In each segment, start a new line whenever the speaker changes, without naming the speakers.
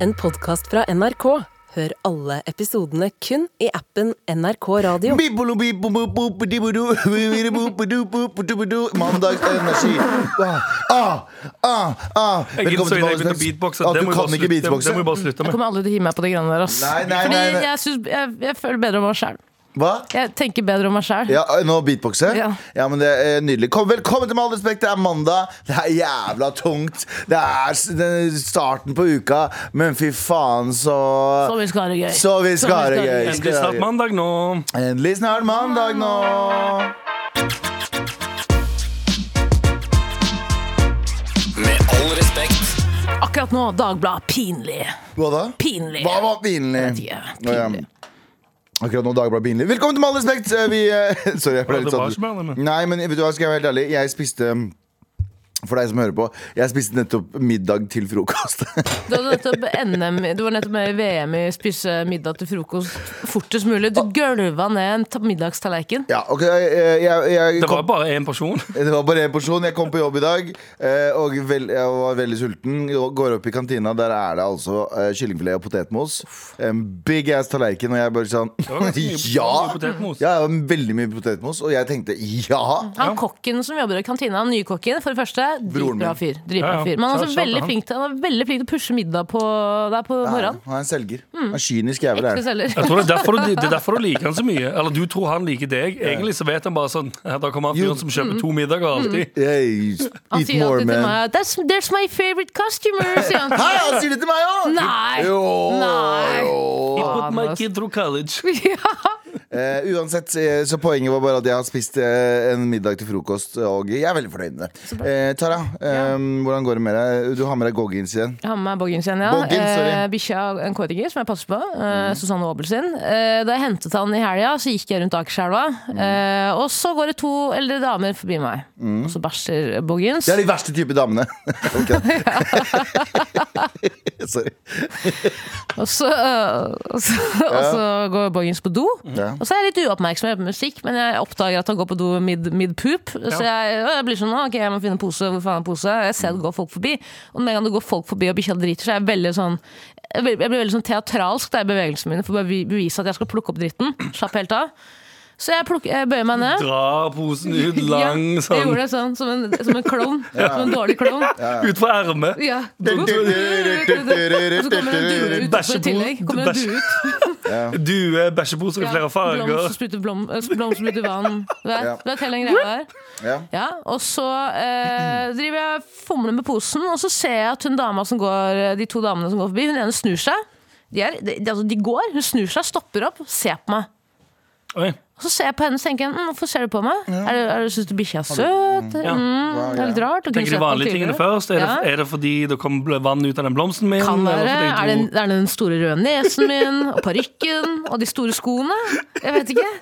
en podkast fra NRK. Hør alle episodene kun i appen NRK Radio.
Mandagsenergi. Ah, ah, ah, ah.
Jeg
Velkommen
innså
til
idet jeg begynte å
Ballsnacks.
beatboxe.
At
Det
du kan
må jeg bare
ikke
slutte-
beatboxe?
Det må jeg bare slutte med.
Kommer alle til å hive meg på de greiene der, ass.
Nei, nei,
Fordi
nei, nei.
Jeg, syns- jeg, jeg føler bedre om meg sjæl.
Hva?
Jeg tenker bedre om meg sjæl.
Ja, nå beatboxe? Ja.
Ja.
men det er nydelig. Kom, velkommen til Med all respekt, det er mandag. Det er jævla tungt. Det er s- det er starten på uka, men fy faen, så
Så vi skal ha det gøy.
Så vi skal ha det gøy.
Endelig snart mandag nå.
Endelig snart mandag nå.
Med all respekt.
Akkurat nå, Dagbladet. Pinlig.
Hva da?
Pinlig.
Hva var pinlig?
Ja,
Ja,
pinlig.
Akkurat nå Dagbladet pinlig. Velkommen til Med all respekt! Eh, Vi, eh, sorry, jeg ble
Ja,
litt
det var så bra, det
sånn
med.
Nei, men vet du hva, skal jeg være helt ærlig? Jeg spiste mm, for deg som hører på, jeg spiste nettopp middag til frokost.
Du, hadde nettopp NM, i- du var nettopp med i VM i spise middag til frokost fortest mulig. Du gølva ned en ta- middagstallerken.
ja, ok, jeg, jeg, jeg
Det
kom-
var bare én person.
Det var bare en porsjon. Jeg kom på jobb i dag, eh, og vel, jeg var veldig sulten. Jeg Går opp i kantina, der er det altså eh, kyllingfilet og potetmos. En big ass tallerken, og jeg bare sånn
Det var ganske mye-
Ja!
mye potetmos.
Ja, det var veldig mye potetmos, og jeg tenkte ja!
Han kokken som jobber i kantina, han nykokken, for det første,
Broren
dritbra
min.
fyr. Dritbra
Ja, ja.
fyr. Men han er
Shout-
også
shout til
veldig
han.
flink til, han er veldig flink til å pushe middag på, der på morgenen. Mm.
Han er en selger. Han er kynisk jævel. er
Ekte
han.
selger.
Jeg tror det er, derfor du, det er derfor du liker han så mye. Eller du tror han liker deg. Egentlig så vet han bare sånn "Ja, Da kommer han fyren som
Mm.
kjøper to middager alltid.
Hey,
Han
eat
sier
more,
alltid til
man.
meg That's, There's my favorite customer, sier han.
Hei, han sier det til meg òg!
Nei.
Jo,
Nei.
jo.
Put my kid through college.
Eh, uansett, eh, så poenget var bare at jeg har spist eh, en middag til frokost, og jeg er veldig fornøyd med det. Eh, Tara, eh, hvordan går det med deg? Du har med deg Goggins igjen.
Jeg har med meg Boggins igjen, ja.
Boggins, sorry. Mm.
Eh, Bikkja og en kåringer som jeg passer på. Eh, Susanne Aabel sin. Eh, da jeg hentet han i helga, så gikk jeg rundt Akerselva.
Mm.
Eh, og så går det to eldre damer forbi meg, og så bæsjer Boggins.
Det er Mm. de verste type damene. Ok. Sorry.
Og så, øh, og så, og så går Boggins på do.
Ja.
Og så er jeg litt uoppmerksom jeg hører på musikk, men jeg oppdager at han går på do mid, mid poop. Så jeg, og jeg blir sånn «Å, Ok, jeg må finne en pose. Hvor faen er en pose? Jeg ser det går folk forbi. Og med en gang det går folk forbi og bikkja driter, så er jeg veldig sånn jeg blir jeg blir veldig sånn teatralsk da i bevegelsene mine for å bare vi- bevise at jeg skal plukke opp dritten. Slapp helt av. Så jeg, plukker, jeg bøyer meg ned.
Dra posen ut lang
Ja, Jeg
sånn.
gjorde det sånn som en, som en klovn. Som en dårlig klovn.
Ut fra ermet.
Ja. Og så kommer det en due ut også i tillegg. Kommer det en due ut.
Due, bæsjeposer i flere
Blomster
farger.
spruter blom, eh, blomster spruter vann. Du vet,
Ja.
du vet hele den greia der.
Ja.
Ja, og så eh, driver jeg og fomler med posen, og så ser jeg at hun dama som går, eh, de to damene som går forbi, hun ene snur seg. De, er, de, de- altså, de går, hun snur seg, stopper opp, ser på meg.
Oi.
Og så ser jeg på henne og tenker jeg, mm, hvorfor ser du på meg? Er det, er det, Syns du bikkja er søt?
Ja.
Mm, det er litt rart. og kunne
Tenker
sett
de
på
vanlige
tidligere.
tingene først? Er
Ja.
det, er det fordi det kom bl- vann ut av den blomsten min?
Kan
eller
være.
fordi
Er det,
du-
er det den store røde nesen min, og parykken, og de store skoene? Jeg vet ikke.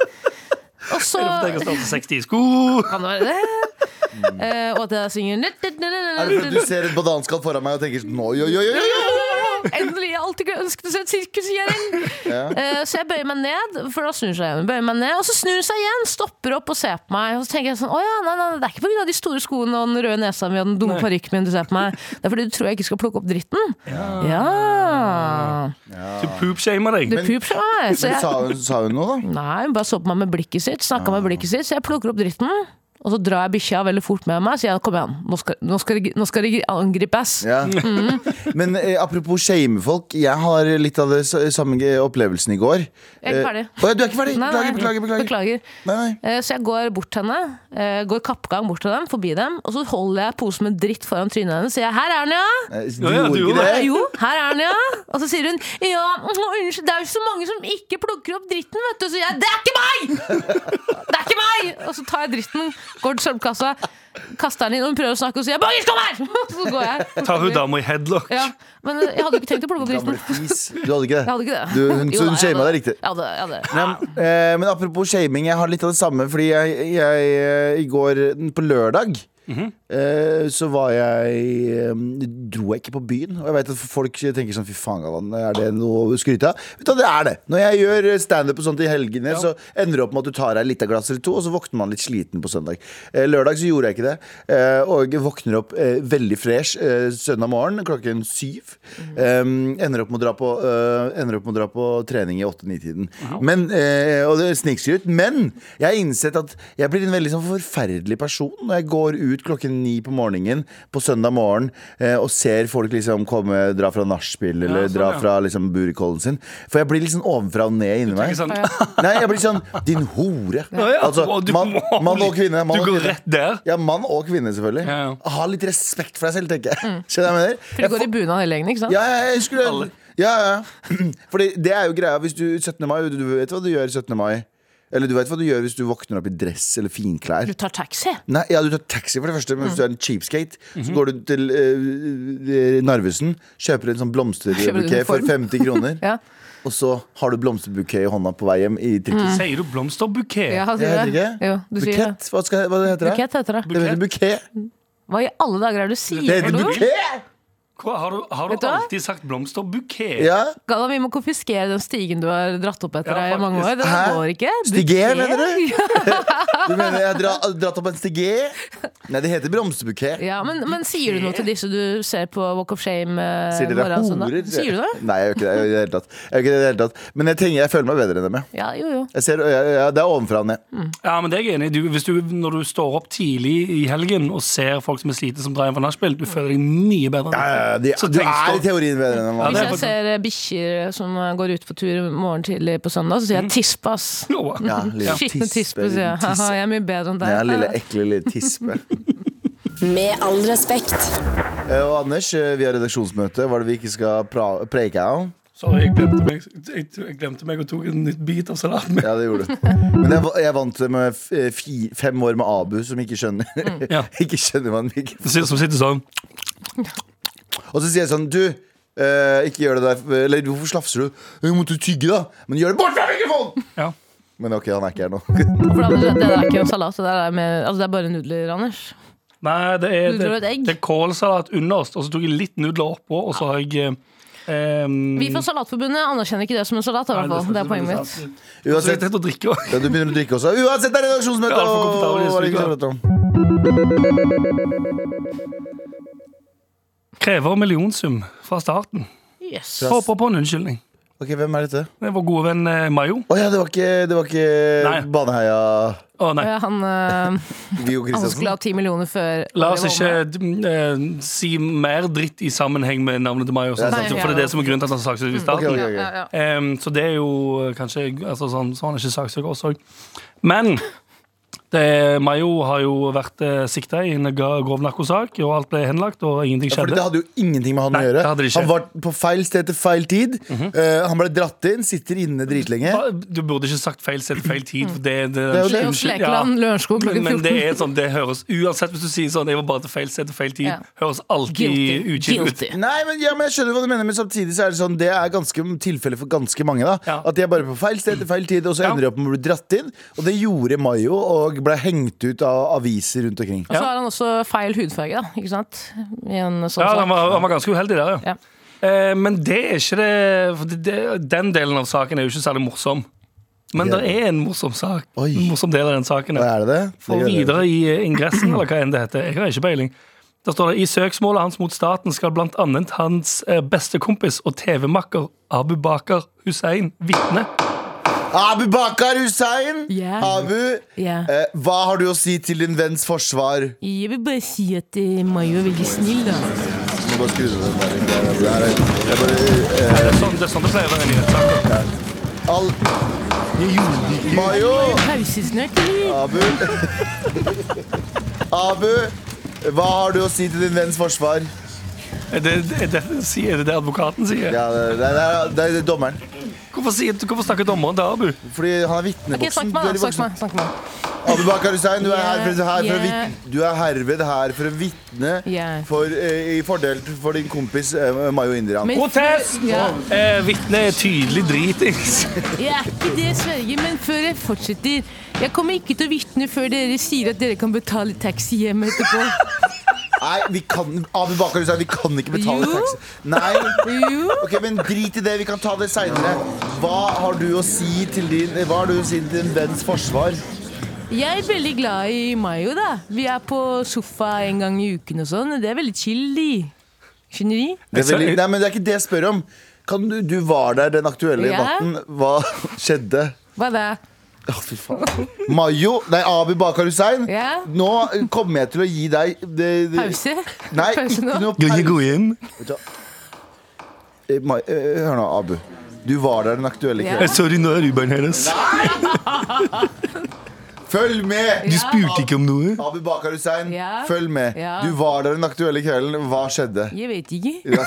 Og så
Fordi jeg har stått i 60 i sko.
Kan det være det? Eh, og at jeg synger
Mm. Er det fordi du ser et bananskall foran meg og tenker sånn oi, oi, oi, oi, oi.
Endelig! Jeg har alltid ønsket å se et sirkus, Jering! Eh, så jeg bøyer meg ned, for da snur seg igjen. Bøyer meg ned, og så snur hun seg igjen, stopper opp og ser på meg. Og så tenker jeg sånn Å ja, nei, nei, det er ikke pga. de store skoene og den røde nesa mi og den dumme parykken min du ser på meg. Det er fordi du tror jeg ikke skal plukke opp dritten. Ja.
Du poopshamer
Du
deg.
pooper meg. Så
Men
jeg,
Sa hun, sa hun noe, da?
nei, hun bare så på meg med blikket sitt, snakka
Ah.
med blikket sitt, så jeg plukker opp dritten. Og så drar jeg bikkja veldig fort med meg, sier jeg kom igjen, nå skal, nå skal, det- nå skal det angripes.
Ja. Men eh, apropos shamefolk, jeg har litt av det s- samme g- opplevelsen i går.
Jeg er ikke
Eh,
ferdig.
å ja, du er ikke ferdig?
Nei, nei.
Beklager, beklager. beklager.
Beklager.
Nei, nei.
Eh, Så jeg går bort til henne, eh, går kappgang bort til dem, forbi dem, og så holder jeg posen med dritt foran trynet hennes. Sier jeg 'her er den, ja'.
Eh, Du
Ja, ja,
gjorde
du
ikke
gjorde
det?
Jo, her er den, ja. Og så sier hun 'ja, mm, unnskyld, det er jo så mange som ikke plukker opp dritten', vet du. Så jeg 'det er ikke meg'! Det er ikke meg! Og så tar jeg dritten, går til sølvkassa, kaster den inn, og hun prøver å snakke, og så sier jeg 'Bagis, kom her!' Og så går jeg.
Tar hun dama i headlock?
Ja, men jeg hadde jo ikke tenkt å plukke opp
Gamle
dritten.
fis. Du hadde ikke
Jeg
det?
hadde ikke det.
Du, hun-
Jo
så hun
da, jeg
shamet
hadde-
deg riktig?
Jeg hadde, jeg hadde.
Eh, men apropos shaming, jeg har litt av det samme. Fordi jeg, jeg eh, i går, på lørdag eh, så var jeg eh, Dro jeg ikke på byen. Og jeg vet at folk tenker sånn Fy faen, Galvan, er det noe å skryte av? Vet du, hva, det er det. Når jeg gjør standup og sånt i helgene, så ender det opp med at du tar deg et lite glass eller to, og så våkner man litt sliten på søndag. Eh, lørdag så gjorde jeg ikke det. Eh, og våkner opp eh, veldig fresh eh, søndag morgen klokken syv.
Mhm.
Eh, ender, opp med å dra på, eh, ender opp med å dra på trening i åtte-ni-tiden. Men, eh, og det er snikskryt. Men jeg har innsett at jeg blir en veldig sånn forferdelig person når jeg går ut klokken ni på morgenen på søndag morgen eh, og ser folk liksom komme, dra fra nachspiel eller
Ja, sånn,
dra
ja.
fra liksom burkollen sin. For jeg blir litt sånn ovenfra og ned inni meg.
Ikke sant?
Nei, jeg blir sånn Din hore.
ja.
Altså,
Å, du-
mann mann og kvinne. Mann
Du
og
går
kvinne.
rett der.
Ja, mann og kvinne, selvfølgelig.
Ja, ja.
Ha litt respekt for deg selv, tenker jeg. Skjønner du hva jeg mener?
For Mm. du går i bunad hele gjengen, ikke sant?
Ja, ja, jeg skulle
Alle.
Ja, ja. Fordi det er jo greia hvis du 17. mai Du vet hva du gjør 17. mai. Eller du vet hva du gjør hvis du våkner opp i dress eller finklær.
Du Mm. tar taxi.
Nei, ja, Du tar taxi, for det første, men hvis du er en cheapskate,
Mhm.
så går du til eh, Narvesen, kjøper en sånn
Kjøper en
blomsterbukett for
uniform.
50 kroner,
Ja,
og så har du blomsterbukett i hånda på vei hjem i trikken.
Sier du blomsterbukett?
ja
Det
Mm. sier
heter
du det?
ikke
Jo, du sier det.
Bukett? Hva, skal, hva heter det?
Bukett heter det.
Det heter bukett.
Hva i alle dager er det du sier?
Det heter
for noe?
bukett!
Hva, har du, har
Vet
du
du hva?
alltid sagt blomsterbukett?
Ja.
Galvan, vi må konfiskere den stigen du har dratt opp etter
Ja,
deg i mange
faktisk.
år. Det
Hæ?
går ikke. Du-
Stigé, mener du? Du mener jeg har dra, dratt opp en stigé? Nei, det heter blomsterbukett.
Ja, men, men sier du noe til disse du ser på Walk of Shame? eh,
Sier dere
morgenen og søndag?
horer?
Sier du det?
Nei, jeg gjør ikke det jeg gjør ikke det i det hele tatt. Jeg gjør ikke det i det hele tatt. Men jeg, tenker, jeg føler meg bedre enn dem. jeg.
Ja, jo, jo.
Jeg ser, jeg, jeg, det er ovenfra og ned.
Ja, men det er jeg enig i. Du- Hvis du, når du står opp tidlig i helgen og ser folk som er slitne som drar hjem fra nachspiel, du føler deg mye bedre.
Ja, ja, ja, de,
Så
du
tenk
er
stå-
i teorien bedre enn dem.
Ja,
Hvis
det er
jeg
faktisk-
ser eh, bikkjer som eh, går ut på tur morgen tidlig på søndag, så sier
Mm.
jeg tispe, ass.
Jo,
Ja, lille
Skitne tispe, sier jeg. Haha,
tispe.
jeg er mye bedre enn deg.
Ja, lille ekle lille tispe.
Med all respekt.
Eh, Og Anders, eh, vi har redaksjonsmøte. Hva er det vi ikke skal pra preike om?
Sorry, jeg glemte, meg, jeg, jeg glemte meg og tok en nytt bit av salaten min.
Ja, det gjorde du. Men jeg, va- jeg vant det med f- eh, fi, fem år med Abu, som ikke skjønner
Ja.
Ikke skjønner hva en mikrofon
Det sier- Som sitter sånn.
Og så sier jeg sånn, du eh, ikke gjør det der Eller hvorfor slafser du? Jeg måtte tygge da Men gjør det bort fra mikrofonen
Ja.
Men ok, han er ikke her nå
For da, det det er ikke en salat, det, der er med, altså, det er bare nudler, Anders.
Nei, det er,
Nudler og et
det,
egg.
det er kålsalat underst, og så tok jeg litt nudler oppå, og så har jeg eh, em,
Vi fra Salatforbundet anerkjenner ikke det som en salat. i
nei,
hvert fall. Det er poenget
sant. Altså, Og
mitt.
så er
Uansett
det tett å drikke også.
ja, Du begynner å drikke også Uansett, det er redaksjonsmøte
Ja, for komfortabel
og-
i
og-
studio.
og- og-
Krever millionsum fra starten.
Yes.
Håper på en unnskyldning.
Ok, hvem er dette?
Det er vår gode venn eh, Mayo.
Åja, det var ikke, det var
Nei.
ikke Baneheia
Å nei.
Ja, Han, eh,
Viggo
han skulle
Kristiansen
ha ti millioner før.
La oss
det var
ikke
med.
eh, si mer dritt i sammenheng med navnet til Mayo. Sånn,
Nei,
sånn,
ja.
for det er det som er grunnen til at han saksøkte i starten.
Ok, ok, ok.
Ja, ja, ja.
Em, så det er jo eh, kanskje altså, sånn, Så han er ikke saksøker også. Men det, Mayo har jo vært eh, sikta i en ga- grov narkosak, og alt ble henlagt, og ingenting
ja, fordi det
skjedde.
hadde jo ingenting med han
Nei,
å
det hadde
gjøre
det ikke. Mhm.
Han var på feil sted til feil tid Eh, Han ble dratt inn, sitter inne dritlenge
Ah, Du burde ikke sagt feil sted til feil tid. For det, det,
er jo det.
Leon
Unnskyld, ja.
Slekeland, Lørenskog
Men,
klokken
men det
14.
er sånn, det høres Uansett hvis du sier sånn, jeg var bare til feil sted til feil tid,
Ja.
høres alltid utgitt ut.
Guilty.
Nei, men, ja, men jeg skjønner hva du mener, men samtidig så er det sånn Det er ganske tilfelle for ganske mange. da
Ja.
At de er bare på feil sted til feil tid, og så
Ja.
ender de opp med å bli dratt inn. Og det gjorde Mayo, og ble hengt ut av aviser rundt omkring.
Og så har han også feil hudfarge, da. Ikke sant? I en sånn
Ja,
sak.
han var, han var ganske uheldig der, ja.
Ja.
Eh, men det er ikke det, for det, det Den delen av saken er jo ikke særlig morsom. Men
Ja.
det er en morsom sak.
Oi.
En morsom del av den saken.
Hva er det det?
For
det er det.
videre i eh, ingressen, eller hva enn det heter. Jeg har ikke peiling. Der står det i søksmålet hans mot staten skal blant annet hans eh, beste kompis og TV-makker Abu Bakar Hussein vitne.
Abu Bakar Hussein!
Ja.
Abu,
Ja.
eh, hva har du å si til din venns forsvar?
Jeg vil bare si at eh, Mayo er veldig snill, da.
Må bare skru den der. Det er- det er bare-
Det er sånn det, er sånn det pleier å være i nyhetssaker.
All... Mayo!
Pausesnakk, eller?
Abu Abu, hva har du å si til din venns forsvar?
Er det, er, det, er det det advokaten sier?
Ja, det, det, det, er, det er dommeren.
Hvorfor, sier, hvorfor snakker dommeren til Abu?
Fordi han er
Ok,
vitnevoksen.
snakk med
Du
meg,
er i
da. Snakk
voksen-
med meg, snakk med meg.
Abu Bakar Hussein, du er, her for, her for å
Yeah.
vit- du er herved her for å vitne
Yeah.
for, eh, i fordel for din kompis eh, Mayo Indiran.
Men-
Protest!
Ja.
Eh, Vitnet er tydelig dritings.
Jeg er ikke det, Sverige, men før jeg fortsetter Jeg kommer ikke til å vitne før dere sier at dere kan betale taxi hjem etterpå.
Nei, vi kan, Abu Bakar Hussein, vi kan ikke betale
Jo.
taxi. Nei.
Jo.
Ok, men Drit i det, vi kan ta det seinere. Hva har du å si til din Hva har du å si til din venns forsvar?
Jeg er veldig glad i Mayo, da. Vi er på sofa en gang i uken og sånn. og Det er veldig chill, de. Skjønner de?
Det er
Jeg ser-
veldig, nei, men det er ikke det jeg spør om. Kan du, du var der den aktuelle
Ja.
natten. Hva skjedde?
Hva da?
Å, fy faen. Mayo Nei, Abu Bakar Hussein.
Ja.
Nå kommer jeg til å gi deg det, det,
Pause?
Nei,
Pause
ikke
nå?
noe pause.
inn.
Vet du hva? Eh, Mai- eh, Hør nå, Abu. Du var der den aktuelle
Ja.
kvelden.
Sorry, nå er Uberen hennes.
Følg med!
spurte ikke om noe.
Abu Bakar Hussein,
Ja.
følg med.
Ja.
Du var der den aktuelle kvelden. Hva skjedde?
Jeg vet ikke.
Ja.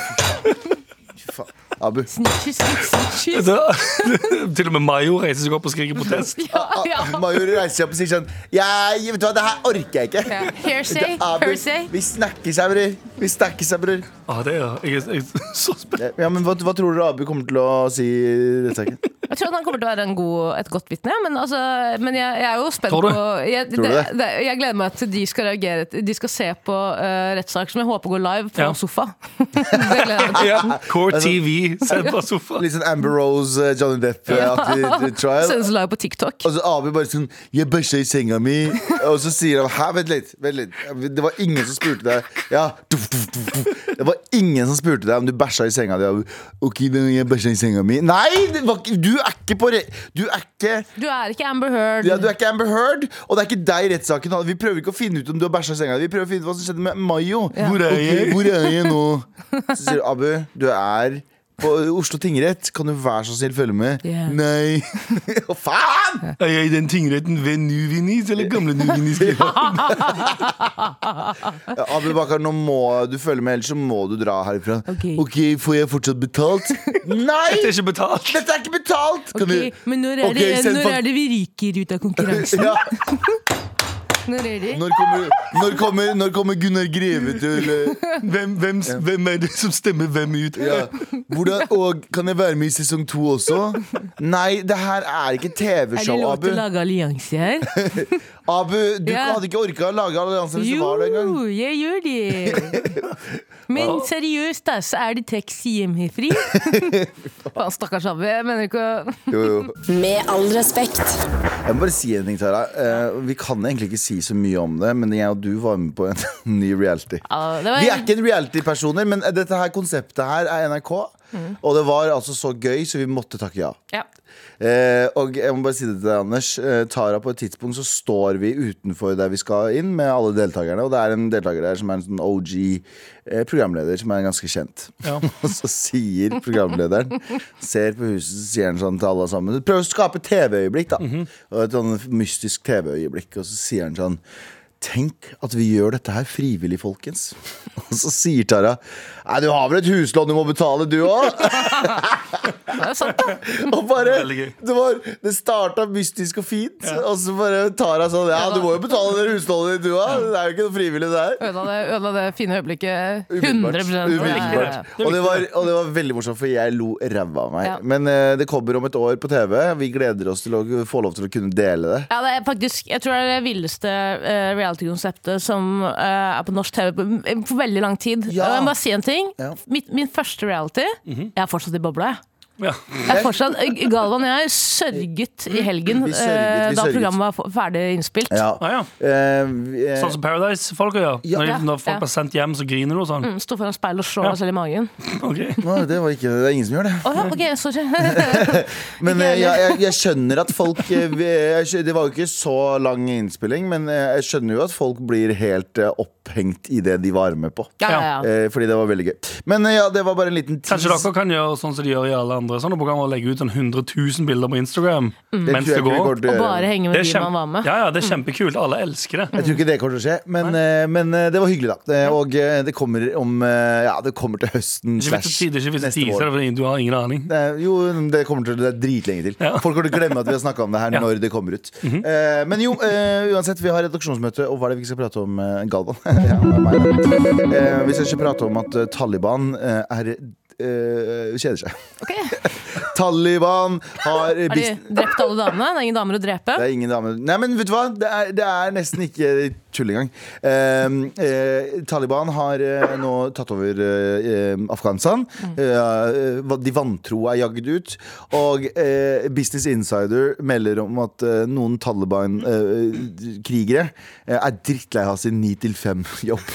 Fy faen. Abu.
Snitches,
Altså,
snitches.
Til og med Mayo reiser seg opp og skriker protest.
Ja, ja.
Major reiser seg opp og sier sånn Jeg, vet du hva, det her orker jeg ikke.
ja. Hearsay,
Abu,
hearsay.
vi snakkes her, bror. Vi snakkes her, bror.
Ah, det er, jeg, er, jeg er så spent.
Ja, men hva, hva tror dere Abu kommer til å si i denne saken?
Jeg tror at han kommer til å være en god, et godt vitne, men, altså, men jeg, jeg er jo spent
Tror du?
på jeg,
du det?
jeg gleder meg til de skal reagere til- De skal se på uh, rettssak som jeg håper går live på
Ja.
sofa. det gleder jeg meg til.
Ja. Core TV, sett på sofaen.
Litt sånn Amber Rose, eh, Johnny Depp-aktig eh, trial.
Sendes live på TikTok.
Og så Abu bare sånn Jeg bæsja i senga mi. Og så sier han Hæ, vent litt. Vent litt. Det var ingen som spurte deg. Ja. Tuff, tuff, tuff, tuff. Det var ingen som spurte deg om du bæsja i senga di. Abu. Ok, men jeg bæsja i senga mi. Nei! Det var, ikke- du er ikke på re... Du er ikke
Du er ikke Amber Heard.
Ja, Du er ikke Amber Heard, og det er ikke deg i rettssaken. handler- Vi prøver ikke å finne ut om du har bæsja i senga. Vi prøver å finne ut hva som skjedde med Mayo.
Hvor er
Ok,
jeg?
hvor er jeg nå? Så sier du, Abu, du er på Oslo tingrett. Kan du være så snill følge med?
Ja.
Nei. Å, faen!
Er jeg i den tingretten ved Nuvinis eller gamle Nuvinis? Ja.
Ja, Abu Bakar, nå må du følge med, ellers så må du dra herifra.
Ok.
ok, får jeg fortsatt betalt?
Det er
Nei!
ikke betalt.
Dette er ikke betalt! Kan
Ok,
du-
men når er,
Ok,
det,
send
når
fak-
er det vi ryker ut av konkurransen?
ja.
Når er det?
når, kommer, når, kommer, når kommer Gunnar Greve til eh,
Hvem, hvem, hvem er det som stemmer hvem ut?
Ja. Hvordan, og kan jeg være med i sesong to også? Nei, det her er ikke
Er det
TV-show,
lov
Abu.
til å lage allianse her?
Abu, Du
Ja.
hadde ikke orka å lage allianse hvis du
Jo,
var der engang.
jeg gjør det. Men seriøst, da, så er det taxi hjemmefri. Faen, stakkars Abbe. Jeg mener ikke å
Jo, jo.
Med all respekt.
Jeg må bare si en ting, Tara. Eh, vi kan egentlig ikke si så mye om det, men jeg og du var med på en ny reality.
Ja, det var-
Vi er ikke en reality-personer, men dette her konseptet her er NRK.
Mm.
Og det var altså så gøy, så vi måtte takke ja.
ja.
Eh, og jeg må bare si det til deg, Anders. Eh, Tara, på et tidspunkt så står vi utenfor der vi skal inn med alle deltakerne. Og det er en deltaker der som er en sånn OG-programleder som er ganske kjent. og så sier programlederen, ser på huset, så sier han sånn til alle sammen Prøv å skape TV-øyeblikk, da. Og et sånn mystisk TV-øyeblikk. Og så sier han sånn Tenk at vi gjør dette her frivillig, folkens. Og så sier Tara Nei, du har vel et huslån du må betale, du òg?
Det er sant, da.
Og bare,
Veldig gøy.
det, var, det starta mystisk og fint, og så bare Tara sånn Ja, du må jo betale det huslånet ditt, du òg. Det er jo ikke noe frivillig, det her.
Ødela det, ødela det fine øyeblikket. 100
Umiddelbart. Umiddelbart. Og, det var, og det var veldig morsomt, for jeg lo ræva av meg.
Ja.
Men eh, det kommer om et år på TV. Vi gleder oss til å få lov til å kunne dele det.
Ja, det er faktisk, Jeg tror det er det villeste eh, reality-konseptet som eh, er på norsk TV på, på veldig lang tid.
Ja.
Og jeg må bare si en ting.
Ja. Mhm.
Mitt, min første reality Jeg er fortsatt i bobla, jeg.
Ja.
Jeg er fortsatt, Galvan og jeg sørget i helgen
Vi sørget, vi
eh, da
sørget.
programmet var f- ferdig innspilt.
Ja.
Ah, ja.
Eh, vi- eh,
Sånn som Paradise-folka gjør.
Ja.
Når,
Ja.
når folk
Ja.
blir sendt hjem, så griner du og sånn.
Mm, Sto foran speilet og slår
Ja.
meg selv i magen.
Ok.
å, det, var ikke, det er ingen som gjør det.
Å ja, ok, sorry.
Men
Ikke
eh,
heller.
jeg, jeg, jeg skjønner at folk eh, vi- jeg skjø- Det var jo ikke så lang innspilling, men eh, jeg skjønner jo at folk blir helt eh, opphengt i det de var med på.
Ja, ja,
Eh,
ja.
fordi det var veldig gøy. Men eh, ja, det var bare en liten
Kanskje
tease.
dere kan gjøre sånn som de gjør i alle andre sånne programmer og legger ut sånn 100 000 bilder på Instagram
Mm. Det tror jeg
mens det
ikke vi
går.
kommer til å
Og
gjøre.
bare henge
Det
med
er,
de man var
kjempe, Mm.
med.
ja, ja, det er kjempekult. Alle elsker det.
Jeg tror ikke det kommer til å skje, men, eh, men eh, det var hyggelig, da. Eh, Og eh, det kommer om eh, Ja, det kommer til høsten
Ikke vits å si det, ikke vits å tease det, fordi du har ingen aning.
Det er, jo, det kommer til det er dritlenge til.
Ja.
Folk kommer til å glemme at vi har snakka om det her
Ja. Mhm.
når det kommer ut. Eh, men jo, eh, uansett, vi har redaksjonsmøte, og hva er det vi skal prate om, eh, Galvan? ja, det er meg, da. Eh, vi skal ikke prate om at eh, Taliban eh, er eh, kjeder seg.
Ok,
Taliban har eh,
Har de
bis-
drept alle damene? Det er ingen damer å drepe?
det er ingen dame Nei, men vet du hva? Det er, det er nesten ikke tull engang. Eh, eh, Taliban har eh, nå tatt over eh, eh, Afghanistan.
Mm.
Eh, hva- de vantro er jagd ut. Og eh, Business Insider melder om at eh, noen Taliban-krigere eh, er drittlei av sin 9-5-jobb.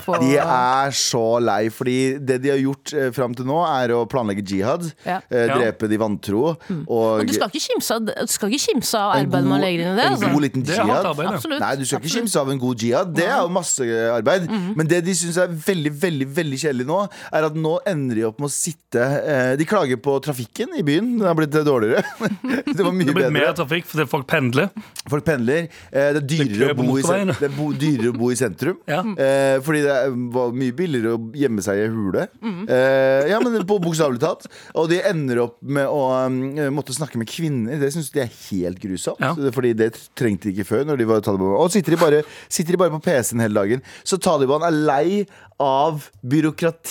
På,
De er så lei, fordi det de har gjort eh, fram til nå, er å planlegge jihad.
Ja.
eh,
Ja.
drepe de vantro. Og,
og du skal ikke kimse av- du skal ikke kimse av
en
arbeidet man
god-
legger inn i det.
En god
Altså.
liten
Det er hardt
jihad.
arbeid, ja.
Absolutt.
Nei, du skal ikke
Absolutt. Mhm.
kimse av en god jihad. Det er jo masse arbeid. Men det de syns er veldig veldig, veldig kjedelig nå, er at nå ender de opp med å sitte eh, De klager på trafikken i byen. Den har blitt eh, dårligere. Det var
Det
mye
blir mer
bedre.
trafikk fordi folk pendler.
Folk pendler. Eh, det er dyrere
Det er kø
å
på
bo i, sen-
motorveien.
det er bo, dyrere å bo i sentrum.
Ja.
Eh, fordi det er- var mye billigere å gjemme seg i ei hule. Eh, ja, men på Bokstavelig talt. Og de ender opp med å um, måtte snakke med kvinner. Det syns de er helt grusomt.
Ja.
Fordi det trengte de ikke før. Når de var i Taliban Og sitter de bare, sitter de bare på PC-en hele dagen. Så Taliban er lei av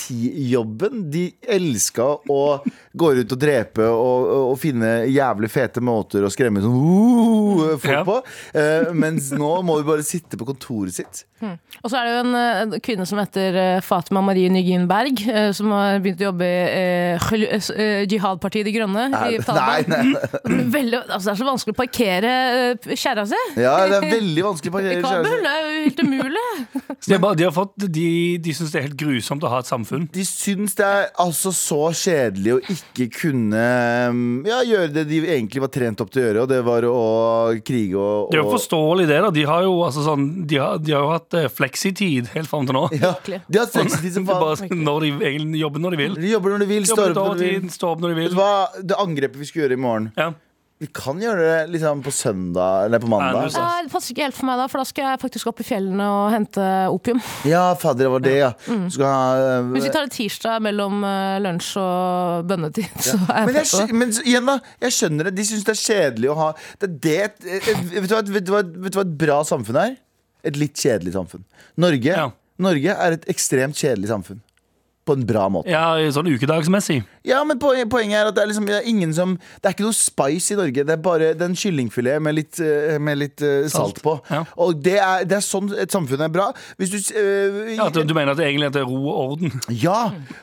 byråkratijobben. De elska å gå rundt og drepe og, og, og finne jævlig fete måter å skremme sånn uh, folk
Ja.
på. Eh, mens nå må vi bare sitte på kontoret sitt.
Og så er det jo en eh, kvinne som heter eh, Fatima Marie Nygin Berg, eh, som har begynt å jobbe i eh, Khul- eh, s- eh, Jihad-partiet De Grønne i
Er- Nei,
Taliban.
nei, nei.
Veldig, altså det er så vanskelig å parkere eh, kjerra si
Ja, det er veldig vanskelig å
i
parkere altså.
Kabul.
kjæresten.
Det er jo helt umulig.
Så de, har bare, de, har fått, de, de syns det er helt grusomt å ha et samfunn.
De syns det er altså så kjedelig å ikke kunne um, ja, gjøre det de egentlig var trent opp til å gjøre, og det var å krige og,
Det er jo
og
forståelig, det. da De har jo, altså, sånn, de har, de har jo hatt eh, fleksitid helt fram til nå.
ja,
Virkelig.
De har sextid
Det er
som faen.
bare når de egentlig jobber når de vil.
De jobber når de vil, står
Jobber
opp
ut
når de
overtid,
vil.
stå opp når de
Vet du
vil.
hva, det angrepet vi skulle gjøre i morgen
Ja.
Vi kan gjøre det liksom på søndag eller på
Nei, du
mandag.
sa-
Nei, Det passer ikke helt for meg, da, for da skal jeg faktisk opp i fjellene og hente opium.
Ja, fader, det var det, ja. Du skal ha uh,
Hvis vi tar det tirsdag mellom eh, lunsj og bønnetid, så er
Men,
jeg
jeg,
på.
skj- men så- igjen da, jeg skjønner det. De syns det er kjedelig å ha det, er det, et- et- vet, du hva, vet, du hva, vet du hva et bra samfunn er? Et litt kjedelig samfunn. Norge,
Ja.
Norge er et ekstremt kjedelig samfunn. På en bra måte.
ja, sånn ukedagsmessig.
Ja, men poen- poenget er at det er, liksom, det er ingen som Det er ikke noe spice i Norge. Det er bare den kyllingfilet med litt, eh, med litt eh, salt.
Salt,
på.
ja.
Og det er, det er sånn et samfunn er bra. Hvis du s- eh,
Ja, at du, du mener at det egentlig heter ro og orden?
ja,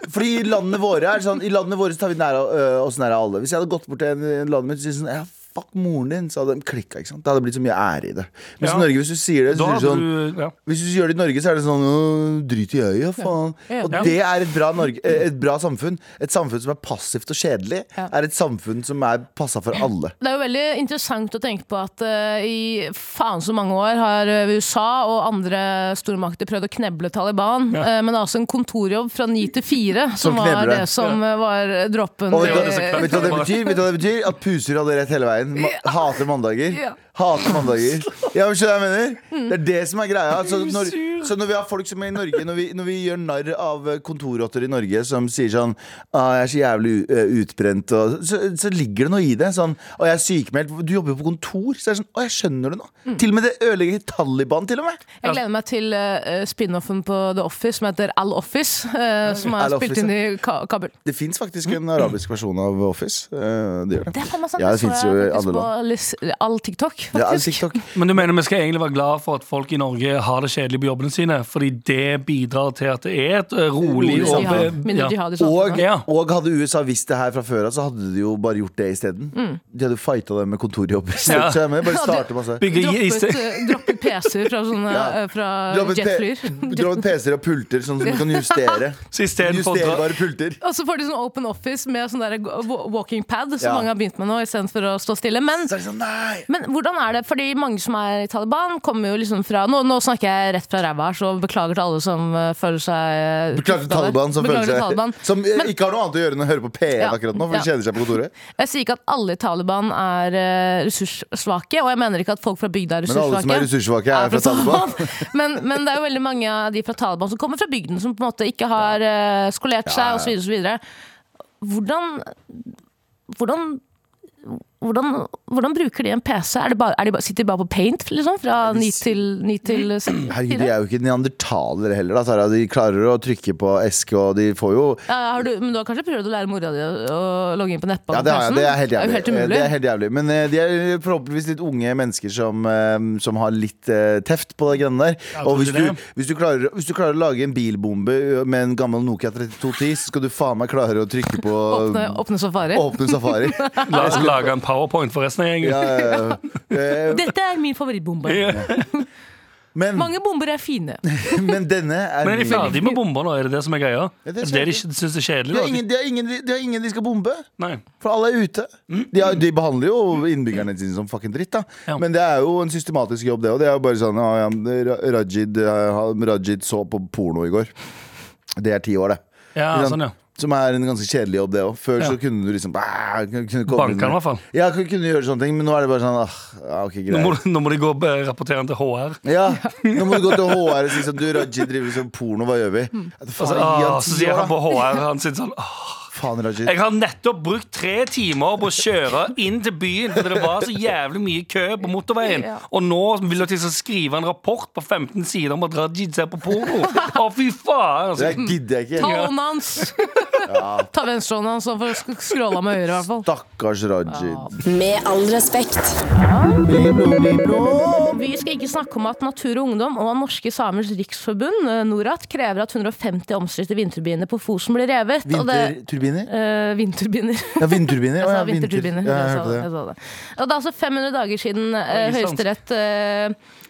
fordi i landene våre er det sånn I landene våre så tar vi nær, øh, oss nær av alle. Hvis jeg hadde gått bort til en, en landet mitt og sagt sånn ja, Fuck moren din, så hadde de klikka. ikke sant? Det hadde blitt så mye ære i det. Mens
Ja.
i Norge, hvis du sier det, så
Da
sier du
har
sånn
du ja.
Hvis du gjør det i Norge, så er det sånn «Åh, Drit i øyet, faen.
Ja.
Og
Ja.
det er et bra, Norge, eh, et bra samfunn. Et samfunn som er passivt og kjedelig,
Ja.
er et samfunn som er passa for alle.
Det er jo veldig interessant å tenke på at eh, i faen så mange år har eh, USA og andre stormakter prøvd å kneble Taliban,
Ja.
eh, men det er altså en kontorjobb fra ni til fire som, var
knebler
det
deg.
som eh, var droppen.
Og vet du,
det
i-
som
hva- vet du hva det betyr? Vet du hva det betyr? At puser hadde rett hele veien. Ma hater mandager.
Ja.
Hater mandager. Ja, men skjønner du hva jeg mener? Det er det som er greia. Så når,
Puser.
så når vi har folk som er i Norge Når vi, når vi gjør narr av eh, kontorrotter i Norge som sier sånn ah, 'Jeg er så jævlig u- eh, utbrent', og, så, så ligger det noe i det. Sånn 'Å, jeg er sykemeldt'. Du jobber jo på kontor. Så er det sånn 'Å, jeg skjønner det nå'.
Mm.
Til og med det ødelegger Taliban, til og med.
Jeg gleder meg til eh, spin-offen på The Office som heter Al Office, eh, som er
Al
spilt
Office,
inn i Ka Kabul.
Det fins faktisk en arabisk versjon av Office. Eh, det gjør det.
Mm. Det er faen meg sant.
Ja, det
så
finnes
jeg
jo i
faktisk
alle land.
på lis- Al TikTok, faktisk.
Ja, TikTok.
Men du mener vi skal egentlig være glad for at folk i Norge har det kjedelig på jobbene sine, fordi det bidrar til at det er et eh, rolig
Rolig
og
Jihad. Mindre
ja.
jihad i
Og,
samfunnet.
Ja.
og hadde USA visst det her fra før av, så hadde de jo bare gjort det isteden.
Mm.
De hadde jo fighta det med kontorjobber. Så
Ja.
så jeg mener, bare starte masse.
Bygge i
Droppet,
sted-
eh, droppet PC-er fra, sånne,
Ja.
eh, fra
Droppet
jetflyer.
P- droppet PC-er og pulter, sånn som du kan justere.
Så i stedet for å dra-
Justerbare pulter.
Og så får de sånn open office med sånn der wa- walking pad, som
Ja.
mange har begynt med nå, istedenfor å stå stille. Men,
Så er det sånn, nei!
men hvordan er det? Fordi mange som er i Taliban, kommer jo liksom fra Nå, nå snakker jeg rett fra ræva Myanmar, så beklager til alle som eh, føler seg eh,
Beklager
truffet
til
av det.
Taliban, som,
Beklager
føler
til
seg,
Taliban.
som eh, ikke har noe annet å gjøre enn å høre på P1
Ja.
akkurat nå, for de
Ja.
kjeder seg på kontoret.
Jeg sier ikke at alle i Taliban er eh, ressurssvake, og jeg mener ikke at folk fra bygda er
Men
ressurssvake.
alle som er ressurssvake, er fra Taliban.
men, men det er jo veldig mange av de fra Taliban som kommer fra bygden, som på en måte ikke har eh, skolert
Ja, ja.
seg, osv. videre Hvordan, hvordan hvordan, hvordan bruker de en PC? Er det bare, er de bare, sitter de bare på paint liksom, fra ni til, ni til seks?
Herregud, de er jo ikke neandertalere heller. Da. Sara. De klarer å trykke på esk, og de får jo
Ja, har du, men du har kanskje prøvd å lære mora di å, å logge inn på nettbank?
Ja, det, har jeg, det er helt jævlig.
helt umulig.
Det er helt jævlig. Men eh, de er forhåpentligvis litt unge mennesker som, eh, som har litt eh, teft på de greiene der.
Ja,
og
tror
hvis
du
du,
det?
hvis, du klarer, hvis du klarer å lage en bilbombe med en gammel Nokia 3210, så skal du faen meg klare å trykke på
åpne, åpne safari.
Åpne safari.
La oss lage en powerpoint for resten av gjengen.
Ja, ja, ja. Eh,
Dette er min favorittbombe.
Ja.
men,
Mange bomber er fine.
men denne er
Men er de
min.
ferdige med bomber nå? Er det det som er greia?
Ja,
Er
det
det
er
det de ikke syns er kjedelig?
De
da?
har, ingen, de, har ingen, de har ingen de skal bombe,
Nei.
for alle er ute. De, har, de behandler jo innbyggerne sine som fucking dritt, da.
Mm. Ja.
Men det er jo en systematisk jobb, det òg. Det er jo bare sånn ah, ja, Ra- Rajid, eh, Rajid så på porno i går. Det er ti år, det.
Ja,
Ikke sant?
sånn, ja.
Som er en ganske kjedelig jobb, det òg. Før
Ja.
så kunne du liksom ah, kunne komme
Banker
inn-
han i hvert fall.
Ja, kunne kunne gjøre sånne ting, men nå er det bare sånn ah, ja, ok, greit.
Nå må, nå må de gå og eh, rapportere den til HR.
Ja, nå må du gå til HR og si sånn Du, Rajid driver som porno, hva gjør vi?
Mm.
Ja,
Og så,
Faen, gi
ah,
han
så
ti
sier
år,
han på
da.
HR han sitter sånn «Åh,
Faen, Rajid.
Jeg har nettopp brukt tre timer på å kjøre inn til byen, for det var så jævlig mye kø på motorveien.
Ja.
Og nå vil jeg til å skrive en rapport på 15 sider om at Rajid ser på porno. Å, fy faen!
Det
Altså.
gidder jeg ikke.
Ta hånden hans! Ta venstrehånden hans, så får sk- scrolla med høyre, i hvert fall.
Stakkars Rajid.
Med all respekt.
Vi skal ikke snakke om at Natur og Ungdom og Norske Samers Riksforbund, eh, Norat, krever at 150 omstridte vindturbiner på Fosen blir revet. og det-
Vinterturbiner?
eh, vindturbiner.
Ja, vindturbiner. Å,
Jeg sa
ja, vinter-
vinterturbiner.
Ja, jeg
Jeg sa
hørte
det, jeg
det.
sa det. Og det er altså 500 dager siden eh,
Oi, sant.
Høyesterett eh,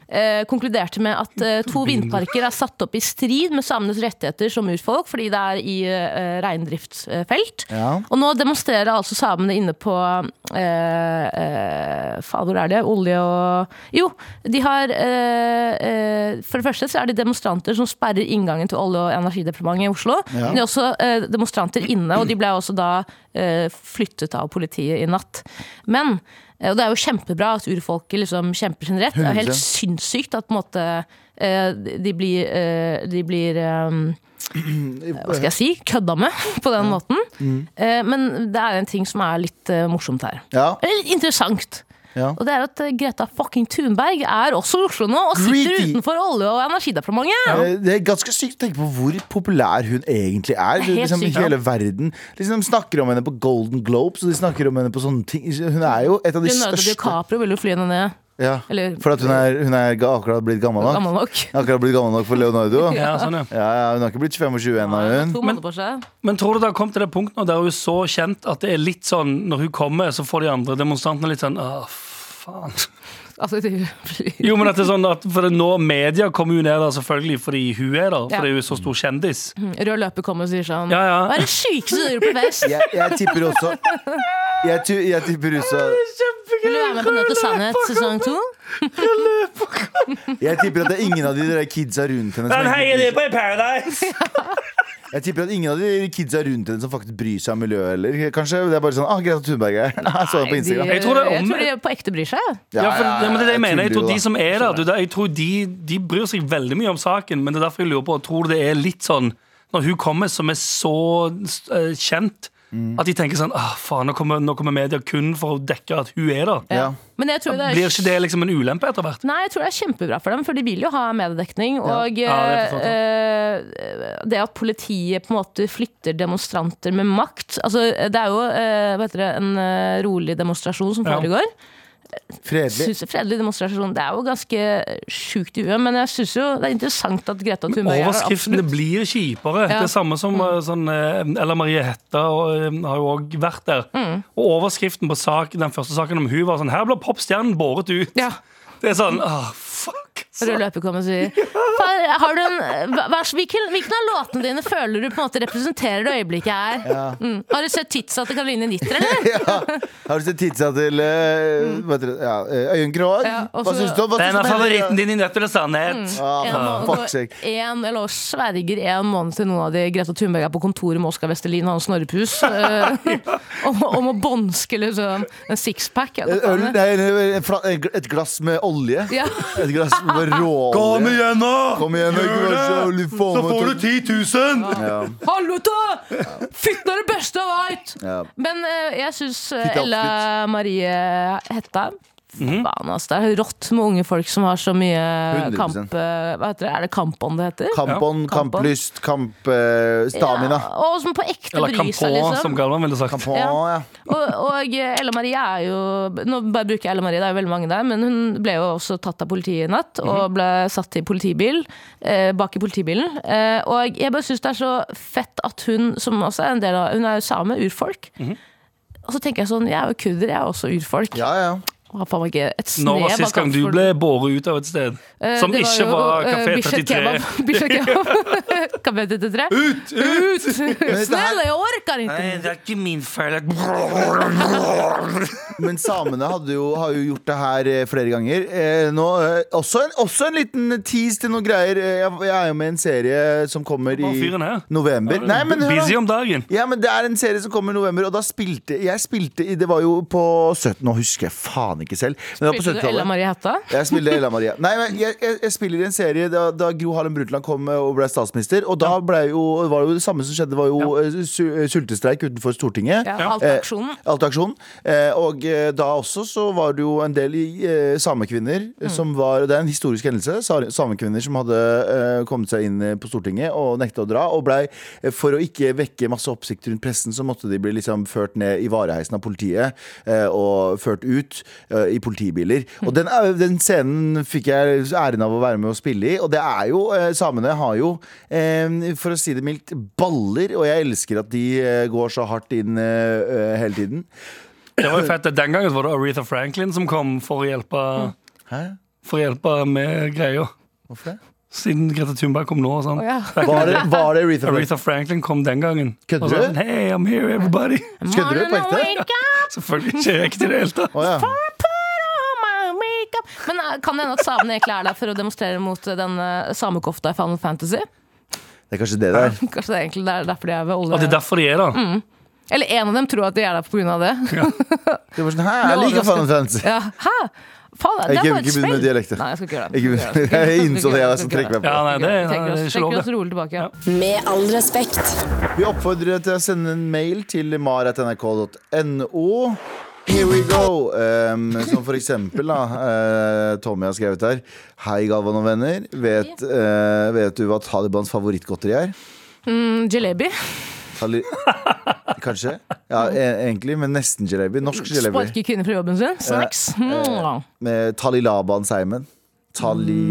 eh, konkluderte med at eh, to vindparker er satt opp i strid med samenes rettigheter som urfolk, fordi det er i eh, reindriftsfelt.
Ja.
Og nå demonstrerer altså samene inne på eh, eh, Faen, hvor er det? Olje og Jo, de har eh, eh, For det første så er de demonstranter som sperrer inngangen til Olje- og energidepartementet i Oslo.
Ja.
Men de er også eh, demonstranter inne, og de ble også da eh, flyttet av politiet i natt. Men eh, og det er jo kjempebra at urfolket liksom kjemper sin rett. Det er jo helt sinnssykt at på en måte eh, de blir, eh, de blir eh, hva skal jeg si, kødda med på den måten. Eh, Men det er en ting som er litt eh, morsomt her.
Ja,
Eller litt interessant.
ja.
Og det er at eh, Greta fucking Thunberg er også i Oslo nå, og sitter
Greedy.
utenfor Olje- og energidepartementet.
Eh, Det er ganske sykt å tenke på hvor populær hun egentlig er.
Det er helt
liksom,
sykt,
I hele verden. Liksom, de snakker om henne på Golden Globes, og de snakker om henne på sånne ting. Hun er jo et av de
Leonardo
største
DiCaprio vil jo fly henne ned.
ja.
Eller-
For at hun er, hun er ga- akkurat blitt gammel nok.
Gammel nok.
Akkurat blitt gammel nok for Leonardo. Ja,
Ja, sånn, ja.
ja, hun har ikke blitt 25 ennå, hun.
To måneder på seg.
Men tror du det har kommet til det punktet nå der hun er så kjent at det er litt sånn når hun kommer, så får de andre demonstrantene litt sånn Å, faen.
Altså, det-
Jo, men at det er sånn at for det er nå media kommer jo ned der selvfølgelig fordi hun er der,
Ja.
fordi hun er så stor kjendis.
Rød løper kommer og sier sånn
Ja, ja.
Hva er det sykeste du gjør på fest?
Jeg, jeg tipper også Jeg, tu- jeg tipper også
Vil du være med på Nødt til sannhet sesong to?
Jeg tipper at det er ingen av de der kidsa rundt henne som egentlig-
Sånn, på i Paradise!
Jeg tipper at ingen av de kidsa rundt henne som faktisk bryr seg om miljøet heller. Kanskje det er bare sånn ah, Greta Thunberg er her. Jeg så det på Instagram.
Jeg tror det er
jeg
om-
tror de på ekte bryr seg.
Ja, for, ja, men det er det jeg mener. Jeg
tuller
tror
jo
de
da.
som er der, du, det- jeg tror de, de bryr seg veldig mye om saken, men det er derfor jeg lurer på, tror du det er litt sånn når hun kommer som er så eh, kjent, at de tenker sånn ah, faen, nå kommer, nå kommer media kun for å dekke at hun er der.
Ja.
Men jeg tror det er
Blir ikke det liksom en ulempe etter hvert?
Nei, jeg tror det er kjempebra for dem, for de vil jo ha mediedekning. Og
Ja, det er for så
eh, eh, det at politiet på en måte flytter demonstranter med makt Altså, det er jo eh, hva heter det, en eh, rolig demonstrasjon som
Ja.
foregår.
Fredelig.
Synes, fredelig demonstrasjon. Det er jo ganske eh, sjukt i huet, men jeg syns jo det er interessant at Greta Thunberg er her,
Overskriftene
absolutt. Mm.
blir kjipere. Det er samme som eh, sånn, eh, Ella Marie Hetta og, eh, har jo òg vært der.
Mm.
Og overskriften på sak, den første saken om hun var sånn Her blir popstjernen båret ut.
Ja.
Det er sånn ah, fuck.
Rød løper kommer og sier Fa- Har du en, hva- hva- hvilken, hvilken av låtene dine føler du på en måte representerer det øyeblikket her? Mm. Har du sett titsa til Karoline Nitter, eller?
Ja. Har du sett tidsa til eh, hva heter det? ja, eh, Øyunn Krog?
Mm. Ja, og
Hva
så- Mm.
syns du om hva syns
Den er
du om henne?
favoritten din i Nødt eller sannhet.
Ja,
En
fuck
måned-
seg.
en, eller og sverger en måned til noen av de Greta Thunberg er på kontoret med Oskar Vestelin og han Snorrepus eh, om, om å bånske liksom, en sixpack. ja, hva
Eh, Øl,
faen er det?
nei, en fla- eh, et glass med olje.
Ja.
Et glass med råolje.
igjen, nå!
Kom igjen, da, ikke vær så jævlig faen, vet
10 000!
Ja.
Halvota! Fytten er det beste jeg veit!
Ja.
Men eh, jeg syns
Fitte
Ella Marie Hetta
Mhm.
Faen, ass. Det er rått med unge folk som har så mye
100%.
kamp... eh, Hva heter det? Er det kampånd det heter?
Kampånd,
Kampånd.
kamplyst, kamp... eh, stamina.
Ja, og som på ekte
Eller
bryr seg,
Campon, som
liksom.
Galvan ville sagt.
Kampånd,
Ja.
ja.
Og, og eh, Ella Marie er jo Nå bare bruker jeg Ella Marie, det er jo veldig mange der, men hun ble jo også tatt av politiet i natt. Og
Mhm.
ble satt i politibil, eh, bak i politibilen. Eh, og jeg bare syns det er så fett at hun, som også er en del av Hun er jo same, urfolk.
Mhm.
Og så tenker jeg sånn, jeg er jo kurder, jeg er også urfolk.
Ja, ja.
Og har faen meg ikke et snev
Når var
av
sist gang du
kampfol-
ble båret ut av et sted?
Eh,
Som
det
ikke
jo,
var
eh,
Kafé
Bislett
33?
Kebab. Bislett Kebab. Kafé 33. Ut! Ut! Snill, jeg orker ikke!
det er ikke min feil.
Men samene hadde jo, har jo gjort det her eh, flere ganger. Eh, nå, eh, også, en, også en liten tease til noen greier. Eh, Jeg, jeg er jo med i en serie som kommer i
Hva er fyren her?
november. Nei, men hør da.
Busy om dagen.
Ja, men Det er en serie som kommer i november, og da spilte jeg spilte i Det var jo på 17 Nå husker jeg faen ikke selv. Men det var på
Spilte du Ella
70-tallet.
Marie Hætta?
Jeg spiller Ella Maria. Nei, men jeg, jeg, jeg spiller i en serie da, da Gro Harlem Brundtland kom eh, og ble statsminister. Og da ble jo, var det jo det samme som skjedde, var jo eh, su- eh, sultestreik utenfor Stortinget.
Ja,
Ja.
alt aksjonen.
Eh, alt aksjon. Eh, og eh, da også så var det jo en del i- eh, samekvinner eh, som var Det er en historisk hendelse. sa- Samekvinner som hadde eh, kommet seg inn eh, på Stortinget og nekta å dra. Og blei, eh, for å ikke vekke masse oppsikt rundt pressen, så måtte de bli liksom ført ned i vareheisen av politiet eh, og ført ut eh, i politibiler. Og den, er- den scenen fikk jeg æren av å være med å spille i, og det er jo eh, Samene har jo, eh, for å si det mildt, baller, og jeg elsker at de eh, går så hardt inn eh, eh, hele tiden.
Det var jo fett. Den gangen var det Aretha Franklin som kom for å hjelpe,
Hæ?
for å hjelpe med greia.
Hvorfor det?
Siden Greta Thunberg kom nå og sånn.
Ja.
Var det, var det Aretha Franklin?
Aretha Franklin kom den gangen.
Kødder
Og
du?
sånn, Hey, I'm here, everybody.
Kødder du på ekte?
Morning, wake up,
Selvfølgelig ikke jeg til det hele tatt.
Å ja.
put on my makeup. Men eh, kan det hende at samene egentlig er der for å demonstrere mot eh, den eh, samekofta i Final Fantasy?
Det er kanskje det der.
Kanskje det er egentlig der- derfor de er ved
Og det er
olje...
derfor de er
Mm.
der.
Eller en av dem tror at de er der pga. det.
Det var sånn, Hæ, jeg liker Final Fantasy.
Ja. Hæ? Faen, det
Jeg
er
kan
bare et
ikke begynne med
spill.
dialekter.
Nei, jeg skal ikke gjøre det.
Ikke- Jeg innså det, jeg var som trekker meg på.
Ja, nei, det, nei,
Trekker
det er
oss,
ikke lov,
trekker oss
det.
rolig tilbake. Ja.
Med all respekt.
Vi oppfordrer deg til å sende en mail til mar.nrk.no. Here we go! Um, som for eksempel, da. eh, Tommy har skrevet her. Hei, Galvan og venner. Vet, eh, vet du hva Talibans favorittgodteri er?
Mm, Jalebi.
Tali Kanskje? Ja, e egentlig, men nesten jalebi. Norsk jalebi.
Sparker kvinner fra jobben sin. Snacks. Mm.
Med Talilaban-seimen.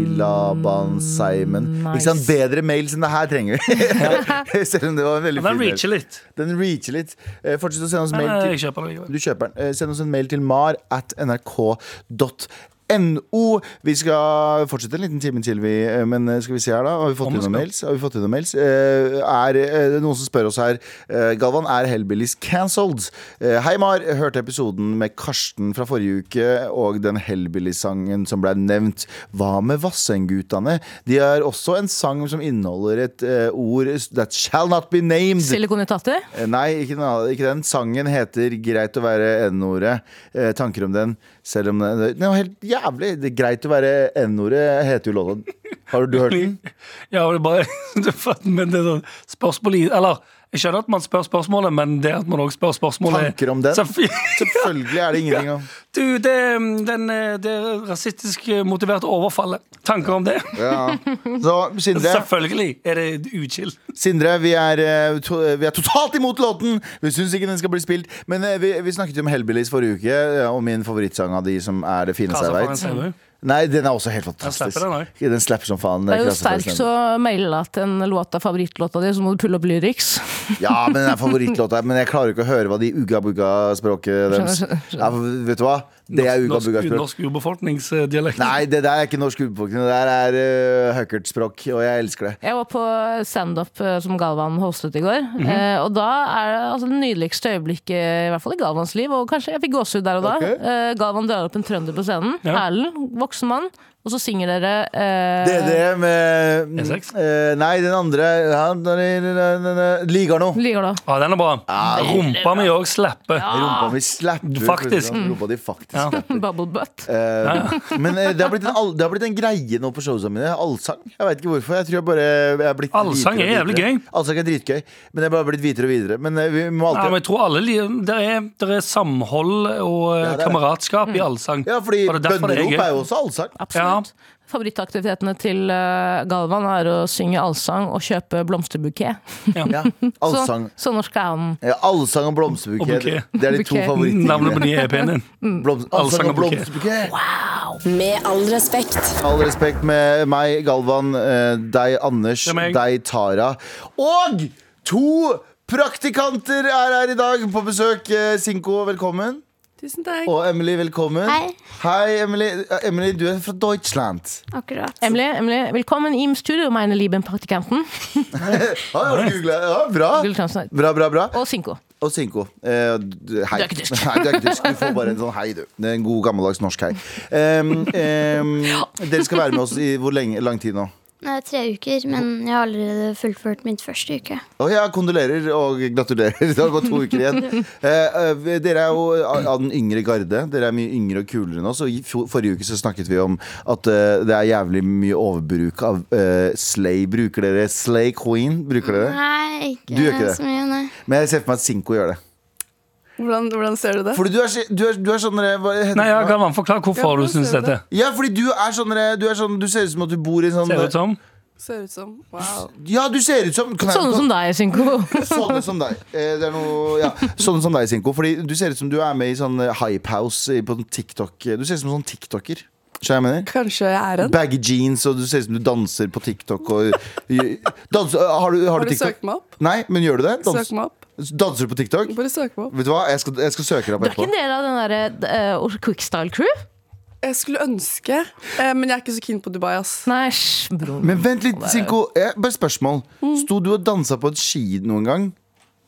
Mm,
Talilaban-seimen.
nice.
Ikke sant? Bedre mails enn det her trenger vi. Selv om det var en veldig
Men den
fin mail.
reacher litt.
Den reacher litt. Eh, Fortsett å sende oss
Men
mail
eh,
til
jeg kjøper det likevel.
Du kjøper den. Eh, Send oss en mail til mar at nrk.no. Vi skal fortsette en liten time til, vi. eh, Men eh, skal vi se her, da. Har vi fått
Om
inn
vi
noen
skal.
mails? Har vi fått inn noen mails? Eh, Er eh, det er noen som spør oss her eh, Galvan, er Hellbillies cancelled? Eh, Hei, Mar. Hørte episoden med Karsten fra forrige uke og den Hellbillies-sangen som ble nevnt. Hva med Vassendgutane? De har også en sang som inneholder et eh, ord that shall not be named.
Silikon i tatter.
Eh, Nei, ikke den, ikke den. Sangen heter 'Greit å være N-ordet'. Eh, tanker om den, selv om den Den var helt jævlig! Det er 'Greit å være N-ordet' heter jo låta. Har du hørt den?
Ja, og det er bare det er for- Men det er sånn spørsmål i Eller, jeg skjønner at man spør spørsmålet, men det at man også spør spørsmålet
Tanker om den?
Selvfø-
Selvfølgelig er det ingenting om
Du, det, den, eh, det rasistisk motiverte overfallet. Tanker om det?
ja. Så Sindre,
Selvfølgelig er det utskill.
Sindre vi, er, eh, to, eh, vi er totalt imot låten! Vi syns ikke den skal bli spilt. Men eh, vi, vi snakket jo om Hellbillies forrige uke, eh, og min favorittsang av de som er det fineste jeg veit. Nei, den er også helt
slapper
fantastisk.
den også.
Den slapper som faen.
Det er jo
Klasse
sterk
Forresten.
så melde at en låt er favorittlåta di, så må du pulle opp lyrics.
Ja, men den er favorittlåta. Men jeg klarer ikke å høre hva de ugga-bugga-språket deres
Skjønner,
ja, for Vet du hva? Det er
Norsk,
ugga-bugga-språk.
norsk urbefolkningsdialekt.
Nei, det der er ikke norsk urbefolkning. Det der er uh, høkkertspråk, og jeg elsker det.
Jeg var på standup eh, som Galvan hostet i går.
Mhm.
eh, og da er det altså, det nydeligste øyeblikket, i hvert fall i Galvans liv, og kanskje jeg fikk gåsehud der og da.
Ok.
Eh, Galvan drar opp en trønder på scenen.
Ja.
Erlend, voksen mann. Og så synger dere eh,
Det, det med
E6?
eh, Nei, den andre han- Ligar nå.
Ligger da.
Ja, den er bra. Rumpa mi òg slapper.
Rumpa mi slapper.
Faktisk.
Rumpa di faktisk
Ja.
slapper.
Bubble butt.
Eh, Men eh, det har, blitt en, all- det har blitt en greie nå på showene mine. Allsang. Jeg vet ikke hvorfor. Jeg tror jeg bare jeg er blitt
Allsang
hvitere
er
og
jævlig
hvitere.
gøy.
Allsang er dritgøy. Men jeg har bare blitt hvitere og videre. Men eh, vi må
Ja, men
alltid
jeg tror alle li- Det er, det er samhold og eh,
det er det.
kameratskap i allsang.
Ja, fordi
Og det er derfor det
bønnerop
gøy.
er jo også allsang.
Absolutt. Favorittaktivitetene til eh, Galvan er å synge allsang og kjøpe blomsterbukett.
Ja,
Så,
allsang.
så norsk er han.
Ja, allsang og
Og
blomsterbukett.
bukett.
Det er de to
Bukett.
favorittene.
Navnet på den nye EP-en din.
Blomst, allsang og blomsterbukett.
Med all respekt.
All respekt med meg, Galvan, eh, deg, Anders,
Det er meg.
deg, Tara. Og to praktikanter er her i dag på besøk. Eh, Sinko, velkommen.
Tusen takk.
Og Emily, velkommen.
Hei.
Hei, Emily. Eh, Emily, du er fra Deutschland.
Akkurat.
Emily, Emily, velkommen im Studio, meine lieben Praktikanten.
Ja, jeg har googlet. ja,
Gull
bra.
Thomsen.
Bra, bra, bra.
Og Sinko.
Og Sinko. Eh, du- hei.
Du er ikke tysk.
Nei, du er ikke tysk. Du får bare en sånn hei, du. Det er En god, gammeldags norsk hei. Em, em, dere skal være med oss i hvor lenge, lang tid nå?
Nei, Tre uker, men jeg har allerede fullført min første uke.
Og jeg kondolerer og gratulerer. Det har gått to uker igjen. Eh, eh, dere er jo av den yngre garde. Dere er mye yngre og kulere enn oss. Og i fjo- forrige uke så snakket vi om at eh, det er jævlig mye overbruk av eh, slay. Bruker dere slay queen? Bruker dere det?
Nei, ikke,
Du gjør ikke det?
så mye, nei.
Men jeg ser for meg at Sinko gjør det.
Hvordan, hvordan ser du det?
Fordi du er, så- du er, du er sånn eh, hva heter
Nei,
det?
ja, Galvan, forklar
Ja,
hvorfor
hvordan
du syns
ser du
dette.
Ja, fordi du er sånn Du, er sånn, du ser ut som at du bor i en sånn
Ser ut som.
Ser ut som Wow.
Ja, du ser ut som kan jeg-
Sånne som deg, Synko.
Sånne som deg. Eh, Det er noe, ja. Sånne som deg, Sinko. Fordi du ser ut som du er med i sånn eh, Hype House eh, på sånn TikTok. Du ser ut som en sånn TikToker. Skjønner du hva jeg mener?
Kanskje jeg er en?
Baggy jeans, og du ser ut som du danser på TikTok. Og, danser, har, du, har
Har
du
du
TikTok?
søkt meg opp?
Nei, men gjør du det? Dans,
Søk meg opp.
danser du på TikTok?
Bare søk meg opp.
Vet du hva, jeg skal, jeg skal søke deg opp
Du er ikke en
etterpå.
del av den derre eh, Quickstyle Crew?
Jeg skulle ønske, eh, men jeg er ikke så keen på Dubai, ass.
Nei, hysj, bror.
Men vent litt, Sinko. Eh, Bare spørsmål.
Mm.
Sto du og dansa på et ski noen gang?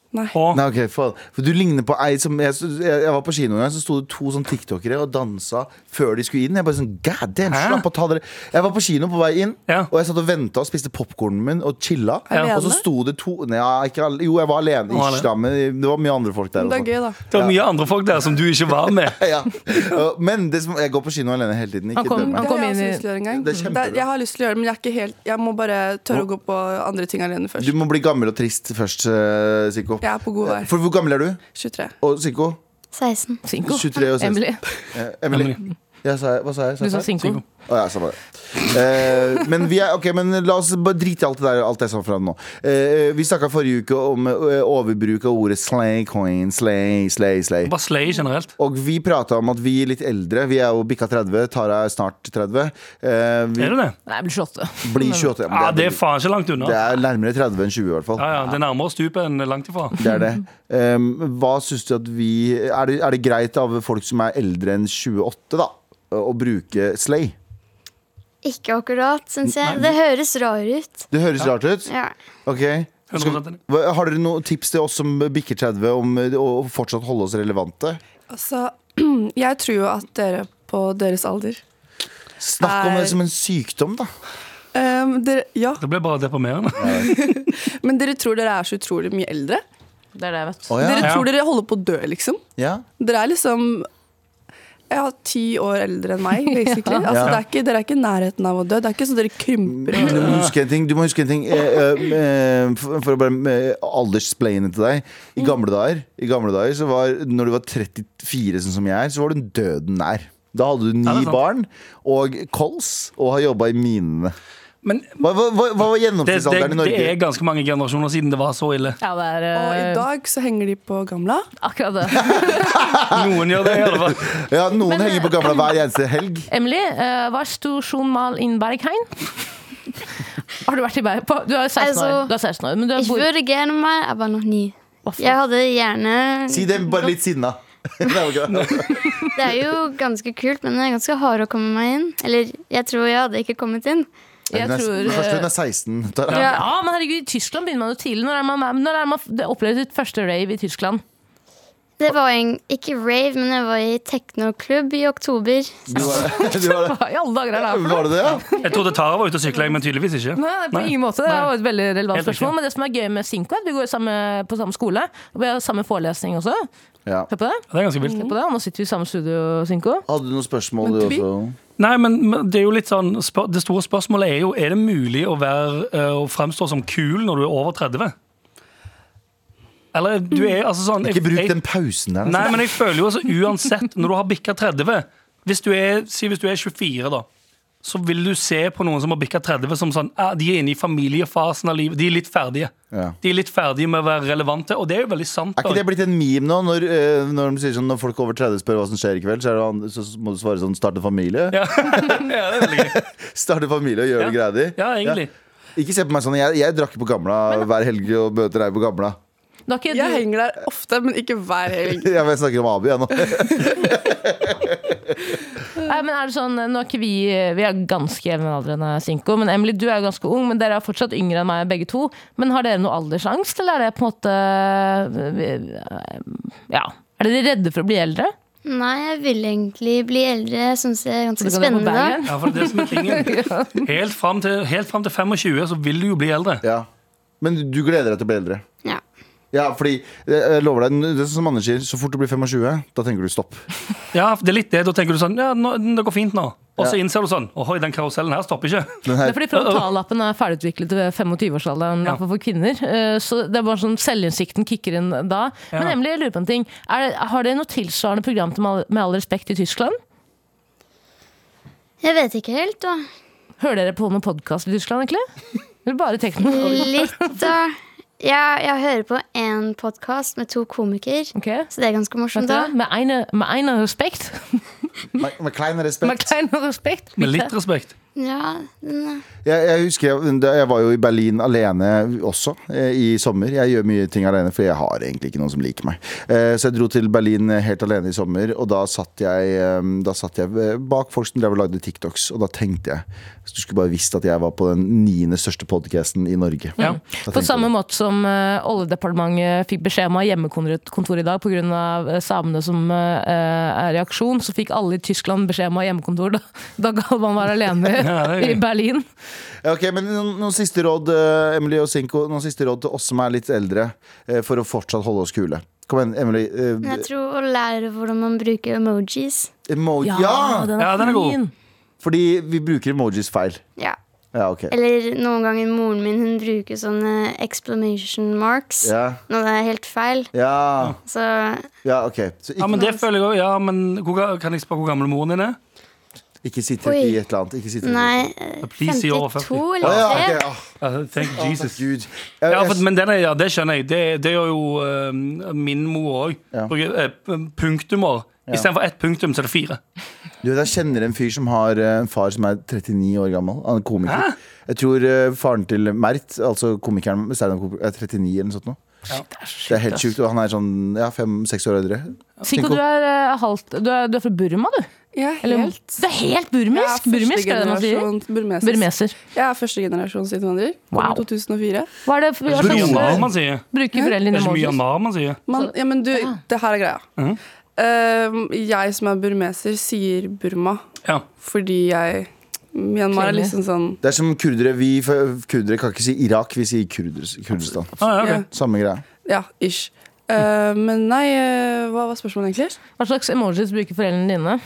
Nei.
Og
Nei, ok, faen. For du ligner på ei som Jeg, jeg, jeg var på kino en gang, så sto det to sånn tiktokere og dansa før de skulle inn. Jeg bare sånn, god damn,
Hæ?
slapp av, ta dere Jeg var på kino på vei inn,
Ja.
og jeg satt og venta og spiste popkornen min og chilla.
Ja.
Og så sto det to Nei, ja, ikke alle Jo, jeg var alene.
Var
Ish,
det?
da, men det var mye andre folk der.
Men altså.
også.
det er gøy, da.
det var mye andre folk der som du ikke var med.
Ja. Og- Men det som, jeg går på kino alene hele tiden. Ikke
Han kom-
døm meg.
han
Det
kom
har jeg
inn
også
i-
lyst til å gjøre en gang.
Det er kjempebra.
Det er- Jeg har lyst til å gjøre det, men jeg, er ikke helt, jeg må bare tørre å gå på andre ting alene først.
Du må bli gammel og trist først, eh, Siko.
Jeg er på god vei.
For hvor gammel er du?
23.
Og Siko?
16.
Synko.
23 og 16.
Emily.
Eh, Emily? Ja, sa jeg, hva sa jeg? Sa jeg
Du sa
feil?
Synko.
Å, ja, samme det. Eh, men, vi er, ok, men la oss bare drite i alt det der Alt det jeg sa fra nå. Eh, vi snakka forrige uke om eh, overbruk av ordet slay coin, slay, slay, slay.
Bare slay generelt.
Og vi prata om at vi er litt eldre. Vi er jo bikka 30. Tara er snart 30. Eh, vi
Er det det?
Nei, jeg blir 28.
blir 28. Ja, men
Ja, Det er
veldig-
faen ikke langt
det
unna.
er nærmere 30 enn 20, i hvert fall.
Ja, ja, Det er nærmere stupet enn langt ifra.
Det er det. Eh, hva syns du at vi er det, er det greit av folk som er eldre enn 28, da, å bruke slay?
Ikke akkurat, syns jeg. Det høres rar ut.
Det høres rart ut.
Ja.
Ok
100% enig.
Hva- Har dere noen tips til oss som bikker 30 om eh, å fortsatt holde oss relevante?
Altså, jeg tror jo at dere på deres alder
Snakk om
Er-
det som en sykdom, da.
Ehm, dere, Ja,
Det ble bare deprimerende.
men dere tror dere er så utrolig mye eldre.
Det er det jeg vet.
ja.
Dere
Ja.
tror dere holder på å dø, liksom.
Ja.
Dere er liksom ja, ti år eldre enn meg, basically. Altså, det er ikke, dere er ikke i nærheten av å dø. Det er ikke så dere krymper.
Mm.
Men du må huske en ting. Du må huske en ting. Eh, eh, eh, For for å bare eh, alderssplaine til deg. I gamle dager, i gamle dager så var, når du var 34, sånn som jeg er, så var du døden nær. Da hadde du
Ja,
ni
det er sant.
barn og kols og har jobba i minene.
Men
Hva, hva, hva hva var
det, det,
gjennomsnittsalderen i
det
Norge?
er ganske mange generasjoner siden det var så ille.
Ja, det er
Og i
eh,
dag så henger de på gamla.
akkurat det.
Noen gjør det, i alle fall.
Ja, Noen henger
eh,
på gamla hver eneste helg.
Emily, uh, hva sto Schon mal in Bergheim? Har du vært i Bergheim? Du er 16 år,
Altså,
du er 16 år men du er
Ich
bor...
würde gerne mal, aber noch nie.
Hva faen?
Jeg hadde gjerne
Si det bare litt sinna. Det var ikke det.
Det er jo ganske kult, men det er ganske hard å komme meg inn. Eller jeg tror jeg hadde ikke kommet inn.
Jeg
Hun er-
tror,
men Først
eh,
hun er 16. Tara.
Ja. men herregud, i Tyskland begynner man jo tidlig. Når er man, når er man det opplevde sitt første rave i Tyskland?
Det var en, ikke rave, men jeg var i teknoklubb i oktober.
Du var, du var,
Hva i alle dager er det her for noe?
var det det, ja?
Jeg trodde Tara var ute og sykla, men tydeligvis ikke.
Nei, det er på ingen måte. Det var et veldig relevant
Helt riktig.
spørsmål. Men det som er gøy med Sinko, er at vi går i samme, på samme skole. Og vi har samme forelesning også.
ja.
Hør på det.
Det er ganske vilt.
Hør på det. Og nå sitter vi i samme studio, Sinko.
Hadde du noen spørsmål, du
Men Tobi?
også?
Nei, men men det er jo litt sånn spør- Det store spørsmålet er jo Er det mulig å være eh, Å fremstå som kul når du er over 30? Eller du er altså sånn
Ikke bruk
jeg-
den pausen der.
Nei,
altså.
men jeg føler jo altså uansett Når du har bikka 30 hvis du, er, si hvis du er 24 da Så vil du se på noen som har bikka 30 Som sånn, ah, de er inne i familiefasen av livet De er litt ferdige
Ja.
De er litt ferdige med å være relevante Og det er jo veldig sant
Er ikke
da.
det blitt en meme nå? Når, eh, når, de sier sånn, når folk over 30 spør hva som skjer i kveld, så, er det, an- så må du svare sånn starte familie.
ja. ja, det er veldig gøy
Starte familie og gjøre det greia di.
Ja, egentlig
Ikke se på meg sånn. Jeg, jeg drakk på gamla hver helg og møter deg på gamla.
Du har ikke,
Jeg
du,
henger der ofte, men ikke hver helg.
Jeg vet, snakker om Abu, jeg nå.
nei, men er det sånn, nå er ikke vi Vi er ganske jevnaldrende, Sinko. Men Emily, du er jo ganske ung, men dere er fortsatt yngre enn meg, begge to. Men har dere noe aldersangst, eller er det på en måte Ja. Er dere redde for å bli eldre?
Nei, jeg ville egentlig bli eldre. Jeg syns det er ganske
Så kan dere på
spennende. da.
Bergen.
Ja, for det er det som er tingen Helt frem til, helt frem til 25 så vil du jo bli eldre
Ja. Men du gleder deg til å bli eldre?
Ja.
Ja, fordi eh, jeg lover deg, det er som Anders sier, så fort du blir 25, da tenker du stopp.
Ja, det er litt det, da tenker du sånn Ja, nå, det går fint nå Og så innser du sånn, ohoi, den karusellen her stopper ikke
Den
Det er
her,
fordi frontallappen er ferdigutviklet ved 25-årsalderen,
Ja.
i hvert fall for kvinner. Eh, Så det er bare sånn selvinnsikten kicker inn da. Men
Ja.
Emily, jeg lurer på en ting. Er det, har dere noe tilsvarende program til Med all- med all respekt i Tyskland?
Jeg vet ikke helt, da.
Hører dere på noen podkast i Tyskland, egentlig? Eller bare tekno?
Litt, da. Jeg, jeg hører på en podkast med to komikere,
Ok,
så det er ganske morsomt,
vet dere?
da.
Med eine, med eine respekt.
med, med klein
Med
respekt.
klein respekt.
Med litt respekt
Ja, den, eh,
Jeg, jeg husker jeg, da jeg var jo i Berlin alene også eh, i sommer. Jeg gjør mye ting alene, for jeg har egentlig ikke noen som liker meg. Eh, Så jeg dro til Berlin eh, helt alene i sommer, og da satt jeg, eh, da satt jeg eh, bak folk som drev og lagde TikToks. Og da tenkte jeg Du skulle bare visst at jeg var på den niende største podcasten i Norge.
Ja.
Da tenkte
På
jeg
samme
det.
måte som eh, oljedepartementet fikk beskjed om å ha hjemmekontor i dag pga. samene som eh, er i aksjon, så fikk alle i Tyskland beskjed om å ha hjemmekontor. Da, da Galvan var alene
Ja, det er gøy.
i Berlin.
Ja, Ok, men noen, noen siste råd, eh, Emily og Sinko, noen siste råd til oss som er litt eldre, eh, for å fortsatt holde oss kule. Kom igjen, Emily. eh,
jeg tror å lære hvordan man bruker emojis.
Emo ja!
den
Ja, den er god.
Fordi vi bruker emojis feil.
Ja.
Ja, ok.
Eller noen ganger moren min hun bruker sånne exclamation marks.
Ja,
Når det er helt feil.
ja,
Så
ja ok. Så
Ja,
ikke,
men det føler jeg også Ja, men hvor, ga- kan jeg spørre hvor gammel moren din er?
ikke sitt i
Oi.
et eller annet. Ikke sitt i-
nei
Please si over 40.
52
Å,
eller
ja,
3.
ok, ah,
Ja, Thank Jesus
Gud. Jeg,
Ja, for,
jeg,
men den er, ja, det skjønner jeg. Det, det gjør jo eh, min mor eh, òg.
Ja.
Punktumår. Istedenfor ett punktum, så er det fire.
du, vet, jeg kjenner en fyr som har eh, en far som er 39 år gammel. Han er komiker. Jeg tror eh, faren til Mert, altså komikeren, standup-komiker, er 39 eller noe sånt. nå. Det er helt sjukt. Og han er sånn ja, fem-seks år eldre.
Sinko, du er, eh, halvt, du, er, du er fra Burma, du?
Jeg er
Eller-
helt
Du er helt burmisk! Burmisk, er det det man sier?
førstegenerasjons burmeser.
Burmeser.
Jeg er førstegenerasjons innvandrer. Kom
Wow.
2004.
Hva er det
Det
sånn for, hva
er ikke
slags-
mye Myanmar man sier.
Bruker
Det
foreldrene
er ikke mye
emojis?
Myanmar man sier.
Man, ja, men du, det her er greia.
Mhm.
Eh, jeg som er burmeser, sier Burma
Ja.
fordi jeg Myanmar er
Klingelig.
liksom sånn
Det er som kurdere. Vi f- kurdere kan ikke si Irak, vi sier kurder, Kurdistan.
Ah, ja,
ja,
ok.
Samme greia.
ja, ish. Eh, men nei, eh, hva var spørsmålet egentlig?
Hva slags emojis bruker foreldrene dine?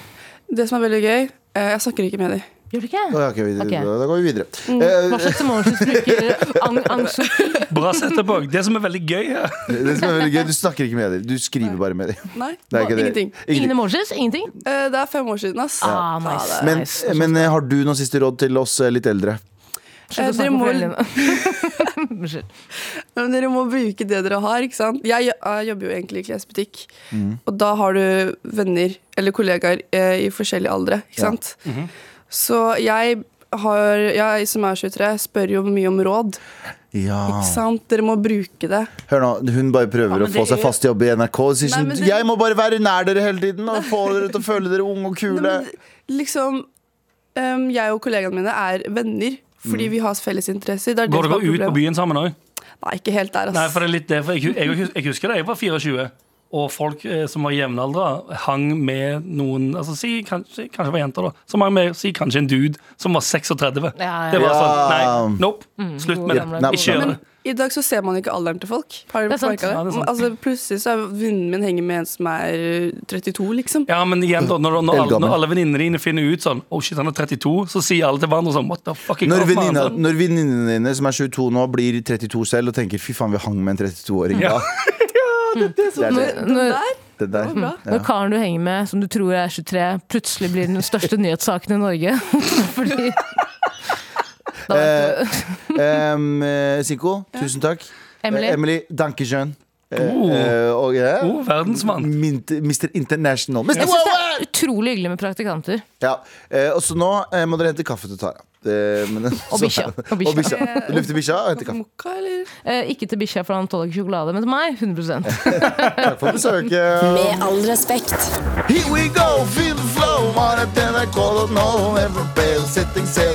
Det som er veldig gøy eh, Jeg snakker ikke med dem.
Gjør du ikke?
Å, ja, ok, vi,
Ok.
Da går vi videre. Eh,
Hva slags emojis bruker Ang, Ang Suu Kyi?
Bra sett opp òg. Det som er veldig gøy her
det som er veldig gøy, du snakker ikke med dem. Du skriver bare med dem.
Nei,
Det er ikke det.
ingenting.
Ingen emojis? Ingenting?
Eh, det er fem år siden, ass.
Ah, nice.
Men,
nice.
men eh, har du noen siste råd til oss eh, litt eldre?
Slutt å
Eh, dere
snakke om
må-
foreldrene dine. Unnskyld.
Men dere må bruke det dere har. ikke sant? Jeg eh, jobber jo egentlig i klesbutikk.
Mm.
Og da har du venner eller kollegaer eh, i forskjellige aldre. ikke
Ja.
sant?
Mhm.
Så jeg, har, jeg som er 23, spør jo mye om råd.
Ja.
ikke sant? Dere må bruke det.
Hør nå, hun bare prøver
men
å få
det
seg
er-
fast jobb i NRK. Og sier
Nei,
sånn,
men det-
Jeg må bare være nær dere hele tiden og få dere til å føle dere unge og kule.
Nei, men Liksom, em, Jeg og kollegaene mine er venner
Mm.
fordi vi har felles interesser. Det er det
Går
som er
dere ut på
problemet.
byen sammen òg?
Nei, ikke helt der,
Nei,
ass.
for det er litt det. For jeg, jeg, hus- jeg husker da jeg var 24, og folk eh, som var jevnaldra, hang med noen altså si, kanskje, kanskje det var jenter, da. Som hang med si, kanskje en dude som var 36.
Ja, ja.
Det var sånn
Ja.
Nei, nope. Slutt med
gode
det.
gamle
Ikke gjør
Men
det.
i dag så ser man ikke alderen til folk. Har
Det
dere
er sant.
merket det?
Ja, det er sant.
altså, plutselig så er venninnen min henger med en som er eh, 32, liksom.
Ja, men igjen da, når, når, alle,
Eldgammel.
når alle venninnene dine finner ut sånn Oh shit, han er 32, så sier alle til hverandre sånn What the fuck? jeg
Når
går for
venninna-
han.
når venninnene dine som er 22 nå, blir 32 selv og tenker 'fy faen, vi hang med en 32-åring
Ja.
da'. Det er det,
Når,
det der.
når karen du henger med, som du tror er 23, plutselig blir den største nyhetssaken i Norge. Fordi
Eh,
da vet du-
Em, eh, Siko, tusen takk.
Emily.
Eh, Emily Dankeskjøn.
Oh.
og eh,
Oh, verdensmann.
Mint- Mr. International.
Jeg
Mr.
syns det er utrolig hyggelig med praktikanter.
Ja, eh, og så nå eh, må dere hente kaffe til Tara. Eh, men-
Og bikkja. Og bikkja.
Og bikkja. Lufte bikkja og
Mm.
hente kaffe.
Mokka, eller?
Eh, ikke til bikkja, for han tåler ikke sjokolade, men til meg 100
Takk for besøket.
Med all respekt.
Here we go, feel the flow. Mara, den er kål og nå, everybody sitting still.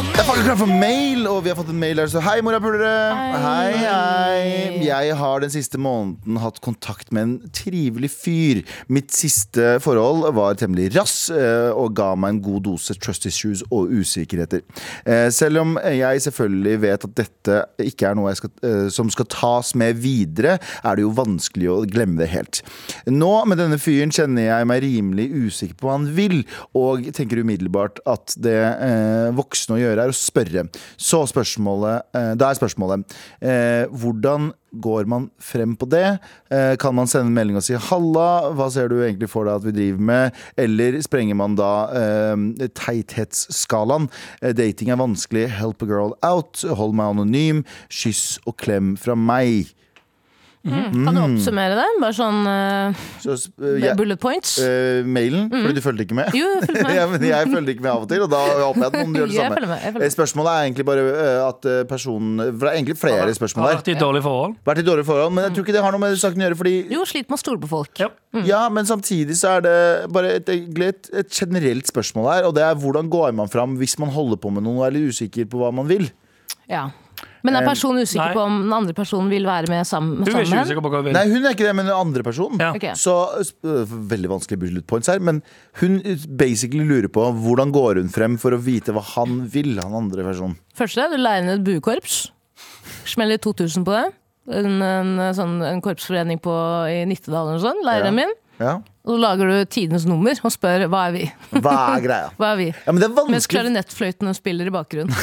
Det er faktisk klart for mail, og vi har fått en mail her. Så hei, morapulere. Hei, hei. Jeg har den siste måneden hatt kontakt med en trivelig fyr. Mitt siste forhold var temmelig rass eh, og ga meg en god dose trust issues og usikkerheter. Eh, Selv om jeg selvfølgelig vet at dette ikke er noe jeg skal, eh, som skal tas med videre, er det jo vanskelig å glemme det helt. Nå med denne fyren kjenner jeg meg rimelig usikker på hva han vil, og tenker umiddelbart at det eh, voksne å gjøre er å spørre. Så spørsmålet eh, Da er spørsmålet eh, hvordan går man frem på det? Eh, kan man sende en melding og si 'halla, hva ser du egentlig for deg at vi driver med'? Eller sprenger man da eh, teithetsskalaen? Eh, dating er vanskelig, help a girl out, hold meg anonym, kyss og klem fra meg.
Mm.
Mm.
Kan du oppsummere det? Bare sånn eh,
Så, eh, jeg-
bullet points?
eh, mailen, fordi du fulgte ikke med?
Jo, jeg følger med.
ja, men jeg følger ikke med av og til, og da håper jeg at noen gjør det
Jeg
samme.
følger med, jeg følger med.
Eh, Spørsmålet er egentlig bare eh, at eh, personen For det er egentlig flere
Har
spørsmål her.
vært i et dårlig forhold.
Vært i dårlige forhold, men jeg tror ikke det har noe med saken å gjøre, fordi
Jo, sliter med å stole på folk.
Ja.
ja, men samtidig så er det bare et, egentlig et, et generelt spørsmål her, og det er hvordan går man fram hvis man holder på med noe og er litt usikker på hva man vil?
Ja. Men
Eh,
er personen usikker
nei.
på om den andre personen vil være med sammen?
Hun er ikke
sammen?
usikker på hva hun vil.
Nei, hun er ikke det, men den andre personen.
Mm. Ja.
Ok.
Så øh, Veldig vanskelige bullet points her, men hun øh, basically lurer på hvordan går hun frem for å vite hva han vil, han andre personen.
Første, du leier inn et buekorps. Smeller 2000 på det. En, en, sånn, en korpsforening på, i Nittedal eller noe sånt. Leier
Ja.
dem inn.
Ja.
Og så lager du tidenes nummer og spør hva er vi?
Hva er greia?
Hva er vi?
Ja, men det er
Mens
vanskelig
klarinettfløytene spiller i bakgrunnen.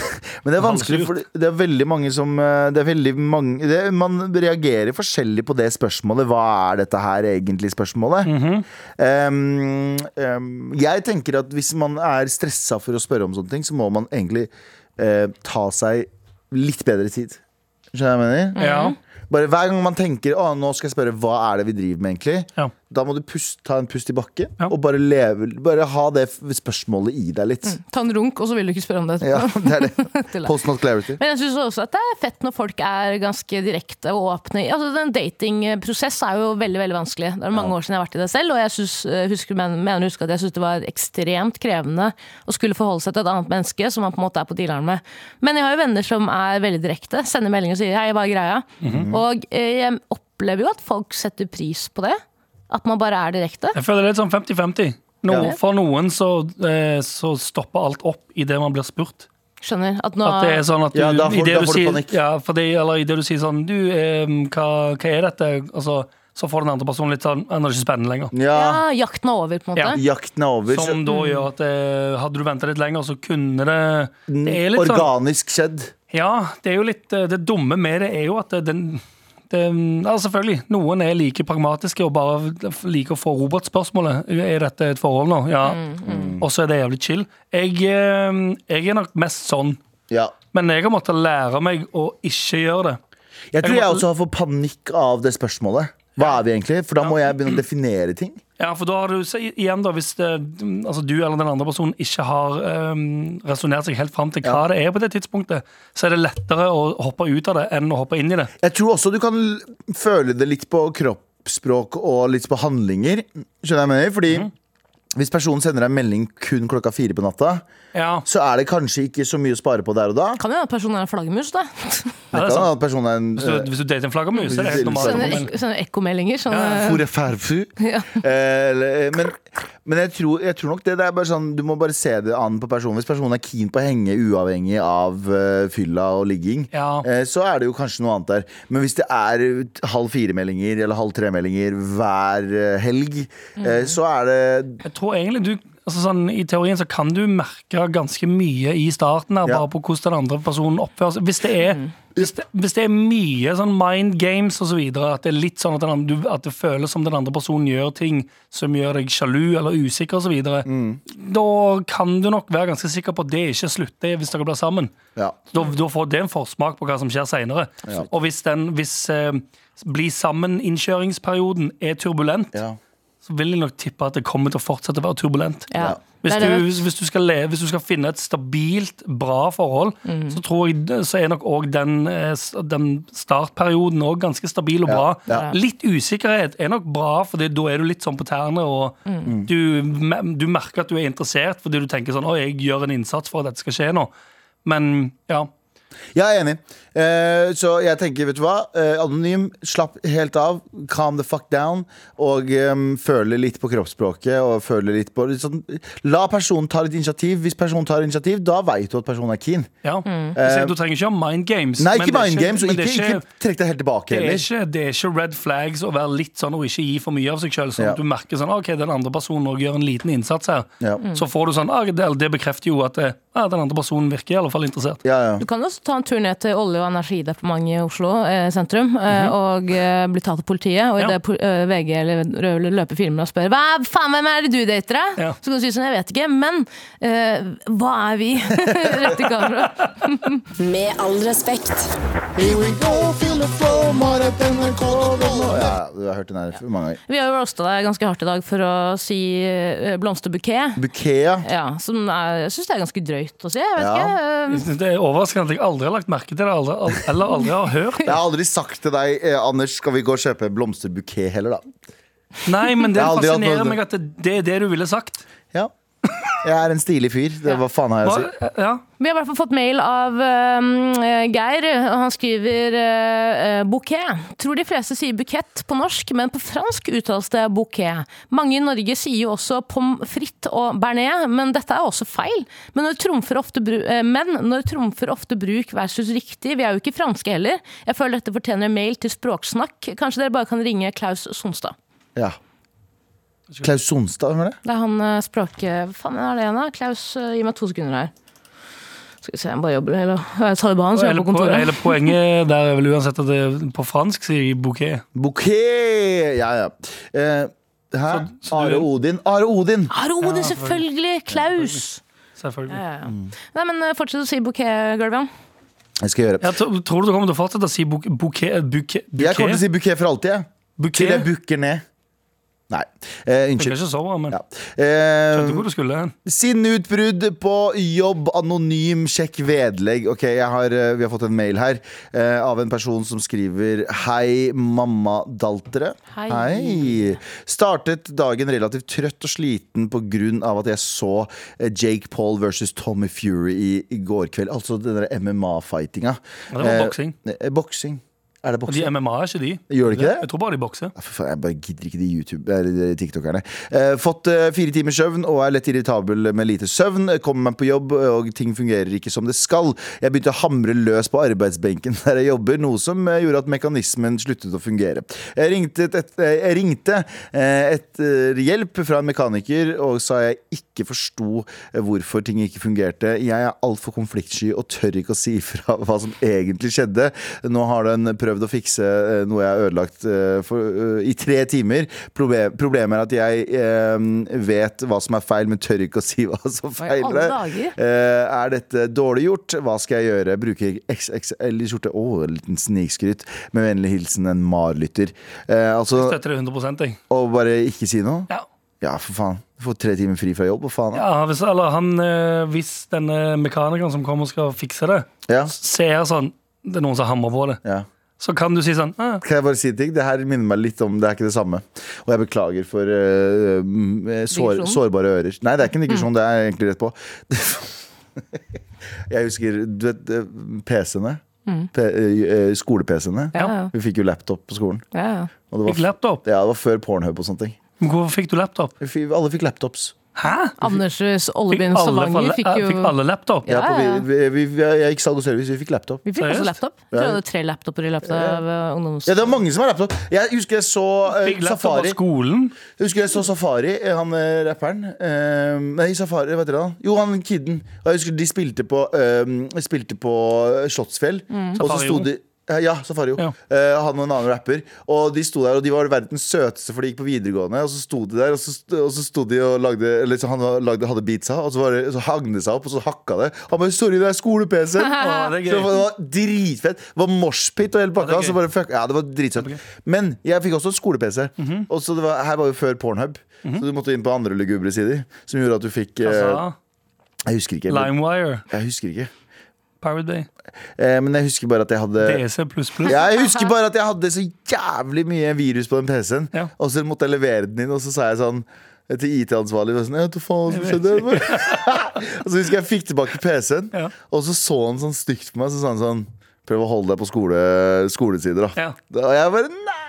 Men det er vanskelig, for det er veldig mange som eh, Det er veldig mange det, Man reagerer forskjellig på det spørsmålet. Hva er dette her egentlig spørsmålet?
Mhm.
um, um, jeg tenker at hvis man er stressa for å spørre om sånne ting, så må man egentlig eh, ta seg litt bedre tid. Skjønner du hva jeg mener?
Ja.
Bare Hver gang man tenker å, nå skal jeg spørre hva er det vi driver med, egentlig,
Ja.
da må du pust, ta en pust i bakken
Ja.
og bare, leve, bare ha det f- spørsmålet i deg litt.
Ta en runk, og så vil du ikke spørre om det.
Ja, det er det.
Til deg.
Post not clarity.
Men jeg syns også at det er fett når folk er ganske direkte og åpne. Altså, den datingprosess er jo veldig veldig vanskelig. Det er mange år siden jeg har vært i det selv, og jeg synes, eh, husker, men- mener å huske at jeg syns det var ekstremt krevende å skulle forholde seg til et annet menneske som man på en måte er på dealeren med. Men jeg har jo venner som er veldig direkte. Sender meldinger og sier 'hei, hva er greia?'
Mhm.
Og eh, jeg opplever jo at folk setter pris på det. At man bare er direkte.
Jeg føler det er litt sånn 50-50. No,
Ja.
For noen så, eh, så stopper alt opp idet man blir spurt.
Skjønner? At nå
At det er sånn at du,
Ja, da får-
i det
da
du
får du
sier,
panikk.
Ja, for det, eller i det du sier sånn Du, eh, hva, hva er dette? Altså, så får den andre personen litt sånn «Ja, Nå er det ikke spennende lenger.
Ja,
ja, jakten er over, på en måte.
jakten er over.
Som da gjør at eh, hadde du venta litt lenger, så kunne det Det er litt sånn
Organisk skjedd.
Ja, det er jo litt eh, Det dumme med det er jo at det- den den- ja, selvfølgelig. Noen er like pragmatiske og bare liker å få robotspørsmålet. Er dette et forhold nå? Ja. Og så er det jævlig chill. Jeg, eh, jeg er nok mest sånn
Ja.
Men jeg har måttet lære meg å ikke gjøre det.
Jeg tror
Jeg
jeg
må-
også har fått panikk av det spørsmålet. Hva er vi egentlig? For da må jeg begynne å definere ting.
Ja, for da har du, så i- igjen da, Hvis det, altså du eller den andre personen ikke har um, resonnert seg helt fram til hva det er på det tidspunktet, så er det lettere å hoppe ut av det enn å hoppe inn i det.
Jeg tror også du kan l- føle det litt på kroppsspråk og litt på handlinger. Skjønner jeg hva jeg mener? Fordi
Mhm.
hvis personen sender deg en melding kun klokka fire på natta,
Ja,
så er det kanskje ikke så mye å spare på der og da.
Kan hende at personen er en flaggermus, da.
det
Det
er
kan
sant.
hende at personen er en
Hvis du, Eh, hvis du dater en flaggermus, så er det helt normalt. å
Sånne,
komme inn.
ek sånne ekkomeldinger. Sånne,
eh, Hvor er færfu? Eh, eller- Men, men jeg, tror, jeg tror nok det, det er bare sånn Du må bare se det an på personen. Hvis personen er keen på å henge uavhengig av eh, fylla og ligging,
Ja.
eh, så er det jo kanskje noe annet der. Men hvis det er eh, halv fire-meldinger eller halv tre-meldinger hver eh, helg, eh, så er det
Jeg tror egentlig du altså sånn, I teorien så kan du merke ganske mye i starten her,
Ja.
bare på hvordan den andre personen oppfører seg. Hvis det er, hvis det, hvis det er mye sånn mind games og så videre, at det er litt sånn at, den andre, du, at det føles som den andre personen gjør ting som gjør deg sjalu eller usikker og så videre, da kan du nok være ganske sikker på at det ikke slutter hvis dere blir sammen.
Ja.
Da, da får det en forsmak på hva som skjer senere. Og hvis, den, hvis eh, bli sammen-innkjøringsperioden er turbulent,
ja.
så vil jeg nok tippe at det kommer til å fortsette å være turbulent.
ja.
Hvis
Det er det.
du, hvis, du skal leve, hvis du skal finne et stabilt, bra forhold,
Mm.
så, tror jeg, så er nok òg den, eh, s- den startperioden også ganske stabil og bra.
ja.
Litt usikkerhet er nok bra, for da er du litt sånn på tærne. Og
Mm.
du, me- du merker at du er interessert fordi du tenker sånn Å, jeg gjør en innsats for at dette skal skje nå. Men ja.
Jeg er enig. Eh, så jeg tenker, vet du hva? Eh, anonym, slapp helt av. Calm the fuck down. Og um, føle litt på kroppsspråket. Og føle litt på litt sånn, La personen ta litt initiativ. Hvis personen tar initiativ, da veit du at personen er keen.
ja.
Mm.
Så Du trenger ikke ha mind games.
Eh, Nei,
men
ikke
det er
mind games, og
men det
ikke,
er
ikke, trekk deg helt tilbake
det er,
heller.
ikke, det er ikke red flags å være litt sånn og ikke gi for mye av seg sjøl. Sånn
Ja.
at du merker sånn, ok, den andre personen også gjør en liten innsats her.
Ja.
Mm.
Så får du sånn, ah, det, det bekrefter jo at eh, ah, den andre personen virker i alle fall interessert.
Ja, ja.
Du kan også ta en tur ned til Olje- og energidepartementet i Oslo eh, sentrum eh, og eh, bli tatt av politiet. Og
Ja.
idet po- eh, VG eller Rød løper filmer og spør Hva faen, hvem er det du dater, da?
Ja.
Så kan du si sånn, jeg vet ikke, men eh, hva er vi? Rett i kamera.
Med all respekt.
Here we go, feel the flow, Marit, NRK, ja, du har hørt den her for mange ganger.
Vi har jo roasta deg ganske hardt i dag for å si eh, blomsterbukett.
Bukea.
Ja, som er, jeg syns det er ganske drøyt å si. Jeg vet
Ja.
ikke. eh,
Det er overraskende at jeg aldri har lagt merke til det, aldri, al- eller aldri har hørt.
Jeg har aldri sagt til deg, eh, Anders, skal vi gå og kjøpe blomsterbuket heller, da?
Nei, men det
Jeg har aldri hatt
fascinerer
noe-
meg at det, det er det du ville sagt.
Ja. Jeg er en stilig fyr. Det, hva faen har jeg å si?
Hva- eh, Ja.
Vi har i hvert fall fått mail av eh, Geir, og han skriver uh, bouquet. Tror de fleste sier bukett på norsk, men på fransk uttales det bouquet. Mange i Norge sier jo også pommes frites og bearnés, men dette er også feil. Men når trumfer ofte, bru eh, men når trumfer ofte bruk versus riktig, vi er jo ikke franske heller. Jeg føler dette fortjener en mail til Språksnakk. Kanskje dere bare kan ringe Klaus Sonstad.
Ja. Klaus Sonstad, hvem er det?
Det er han eh, språk... Hva faen er det igjen, da? Klaus, eh, gi meg to sekunder her. Skal vi se, jeg bare jobber Eller jeg er Taliban, så jeg er
Hele,
på
po
kontoret.
hele poenget der er vel uansett at det på fransk sier jeg bouquet.
Bouquet! Ja, ja. Eh, hæ? Are Odin. Are Odin!
Arode, selvfølgelig! Klaus!
Selvfølgelig.
Ja, ja. Nei, men eh, fortsett å si bouquet, Gulvan.
Jeg skal gjøre det.
Ja, tro- tror du du kommer til å fortsette å si eh, bouquet? Bouquet? bouquet,
Jeg kommer til å si buket for alltid, jeg. Til jeg
bouquet?
bukker ned. Nei. Eh,
Det er
unnskyld.
ikke så bra, men
Ja. Eh,
skjønte hvor du skulle hen.
Sinnutbrudd på jobb, anonym, sjekk vedlegg. Ok, jeg har, eh, Vi har fått en mail her eh, av en person som skriver Hei, mammadaltere.
Hei.
Hei. Startet dagen relativt trøtt og sliten pga. at jeg så eh, Jake Paul versus Tommy Fury i, i går kveld. Altså den der MMA-fightinga.
Ja, det var boksing.
Eh, boksing. Er det
Og de
boksing?
MMA er ikke de.
Gjør de ikke det?
Jeg tror bare de bokser.
Ja, for faen, Jeg bare gidder ikke de YouTube, eller de TikTokerne. Eh, fått eh, fire timer søvn og er lett irritabel med lite søvn. Eh, Kommer meg på jobb, og ting fungerer ikke som det skal. Jeg begynte å hamre løs på arbeidsbenken der jeg jobber, noe som eh, gjorde at mekanismen sluttet å fungere. Jeg ringte, et, et, eh, jeg ringte eh, etter hjelp fra en mekaniker og sa jeg ikke forsto eh, hvorfor ting ikke fungerte. Jeg er altfor konfliktsky og tør ikke å si ifra hva som egentlig skjedde. Nå har den prøvd prøvd å fikse eh, noe jeg har ødelagt eh, for, eh, i tre timer. Proble problemet er at jeg eh, vet hva som er feil, men tør ikke å si hva som feiler.
alle dager.
Eh, er dette dårlig gjort? Hva skal jeg gjøre? Bruker XXL i skjorte? Å, en liten snikskryt. Med vennlig hilsen en marlytter. Eh, altså,
Støtter det 100 jeg.
å bare ikke si noe?
Ja.
Ja, for faen. Få tre timer fri fra jobb, hva faen? da?
Ja, hvis, eller han, eh, hvis denne mekanikeren som kommer og skal fikse det,
Ja.
ser sånn Det er noen som hamrer på det.
ja.
Så kan du si sånn eh,
Kan jeg bare si en ting? Det her minner meg litt om Det er ikke det samme. Og jeg beklager for eh, mm, sår,
Digresjon?
sårbare ører. Nei, det er ikke en digresjon. Det er egentlig rett på. jeg husker du vet, eh, PC-ene. P- eh, Skole-PC-ene.
Ja, ja.
Vi fikk jo laptop på skolen.
ja, ja.
Og det
Fikk
var,
laptop.
ja, det var før Pornhub og sånne ting.
Men Hvorfor fikk du laptop?
Vi fikk- Alle fikk laptops.
Hæ?
Anders
Fikk
Ollebyen
alle, eh,
Stavanger fikk jo
fikk alle laptop?
Ja,
Ja,
på,
ja.
vi, vi, vi, jeg gikk salg og service, vi fikk laptop.
Vi fikk også
Seriøst?
laptop. Jeg tror jeg hadde tre laptoper i løpet av eh, ungdoms...
Ja, det var mange som har laptop. Jeg husker jeg så eh,
Fikk laptop av
Safari.
skolen?
Jeg husker jeg så Safari, eh, han eh, rapperen. Eh, nei, Safari, hva heter han? Jo, han kidden. Og jeg husker de spilte på, eh, spilte på eh, Slottsfjell. Og så
Safari
sto
Jo.
de eh, ja, Safari jo.
Ja.
Eh, han og en annen rapper. Og de sto der, og de var verdens søteste, for de gikk på videregående. Og så sto de der, og så, st- og så sto de og lagde Eller så han var- lagde, hadde beatsa, og så, var det, så hang det seg opp, og så hakka det. Han bare 'Sorry, det er skole-PC'.
Å, det er gøy.
Så det var dritfett. Det var moshpit og hele pakka.
Ja, det er
så
gøy.
bare fuck, ja, det var dritsøtt. Men jeg fikk også skole-PC.
Mhm.
Og så det var, Her var jo før Pornhub, så du måtte inn på andre lugubre sider. Som gjorde at du fikk eh,
Altså,
Jeg husker ikke. helt.
Limewire,
Jeg husker ikke.
Pirate Bay,
Eh, men jeg husker bare at jeg hadde
DC pluss pluss.
jeg husker bare at jeg hadde så jævlig mye virus på den PC-en.
Ja.
Og så måtte jeg levere den inn, og så sa jeg sånn til IT-ansvarlig og sånn, «Jeg vet ikke faen hva som skjedde. og så husker jeg jeg fikk tilbake PC-en,
Ja.
og så så han sånn stygt på meg. Så sa han sånn Prøv å holde deg på skole, skolesider, da.
Ja.
Da- Og jeg bare nei!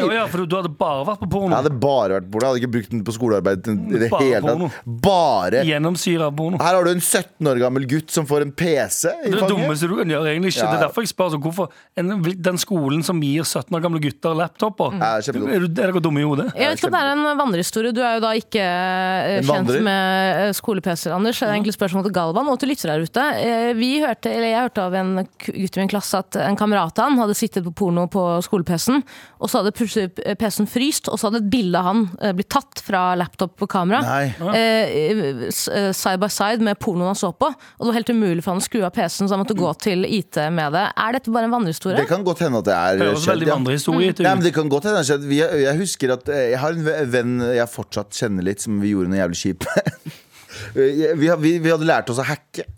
Jo, ja, for du, du hadde bare vært
Jeg
på porno.
hadde bare vært porno. Jeg hadde ikke brukt den på skolearbeid. i det
Bare
hele
porno.
tatt. Bare
Gjennomsyra av porno.
Her har du en 17 år gammel gutt som får en PC i
Det er det
fanget.
dummeste du kan gjøre. egentlig ikke
Ja, ja.
Det er derfor jeg spør altså, hvorfor en, den skolen som gir 17 år gamle gutter laptoper
Ja,
Er
kjempedum.
du- er dere dumme i hodet?
Jeg vet ikke om det er en vandrehistorie. Du er jo da ikke eh,
En
kjent
vandrer?
med eh, skole-PC-er, Anders. Det er egentlig et spørsmål til Galvan og til lyttere der ute. Eh, Vi hørte, eller jeg hørte av en k- gutt i min klasse at en kamerat av han hadde sittet på porno på skole-PC-en, og så hadde plutselig eh, PC-en fryst, og så hadde et bilde av han eh, blitt tatt fra laptop på kamera.
Nei.
eh, s- eh, Side by side med pornoen han så på. Og det var helt umulig for han å skru av PC-en, så han måtte gå til IT med det. Er dette bare en vandrehistorie?
Det kan godt hende at det
Det
er
høres
skjedd.
veldig
Ja.
vandrehistorie ut.
Nei, men det kan godt hende det er skjedd. Vi- Jeg husker at eh, jeg har en ve- venn jeg fortsatt kjenner litt, som vi gjorde noe jævlig kjipt. Eh, vi, har- vi, vi hadde lært oss å hacke.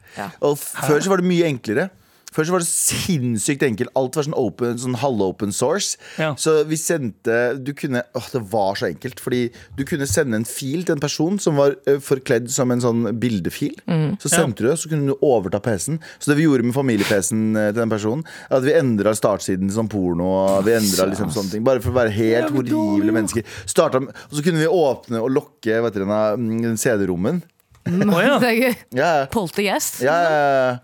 Og f- før så var det mye enklere. Før så var det sinnssykt enkelt. Alt var sånn, open, sånn halvopen source.
Ja.
Så vi sendte Du kunne åh, Det var så enkelt. Fordi du kunne sende en fil til en person som var eh, forkledd som en sånn bildefil. Så sendte du det, så kunne du overta PC-en. Så det vi gjorde med familie-PC-en eh, til den personen, er at vi endra startsiden som porno. og Vi endret liksom sånne ting Bare for å være helt horrible mennesker. Starta, med- og så kunne vi åpne og lokke vet dere, den, eh, CD-rommen.
Å, ja.
Det er gøy.
Ja, ja.
Poltergeist?
ja, ja.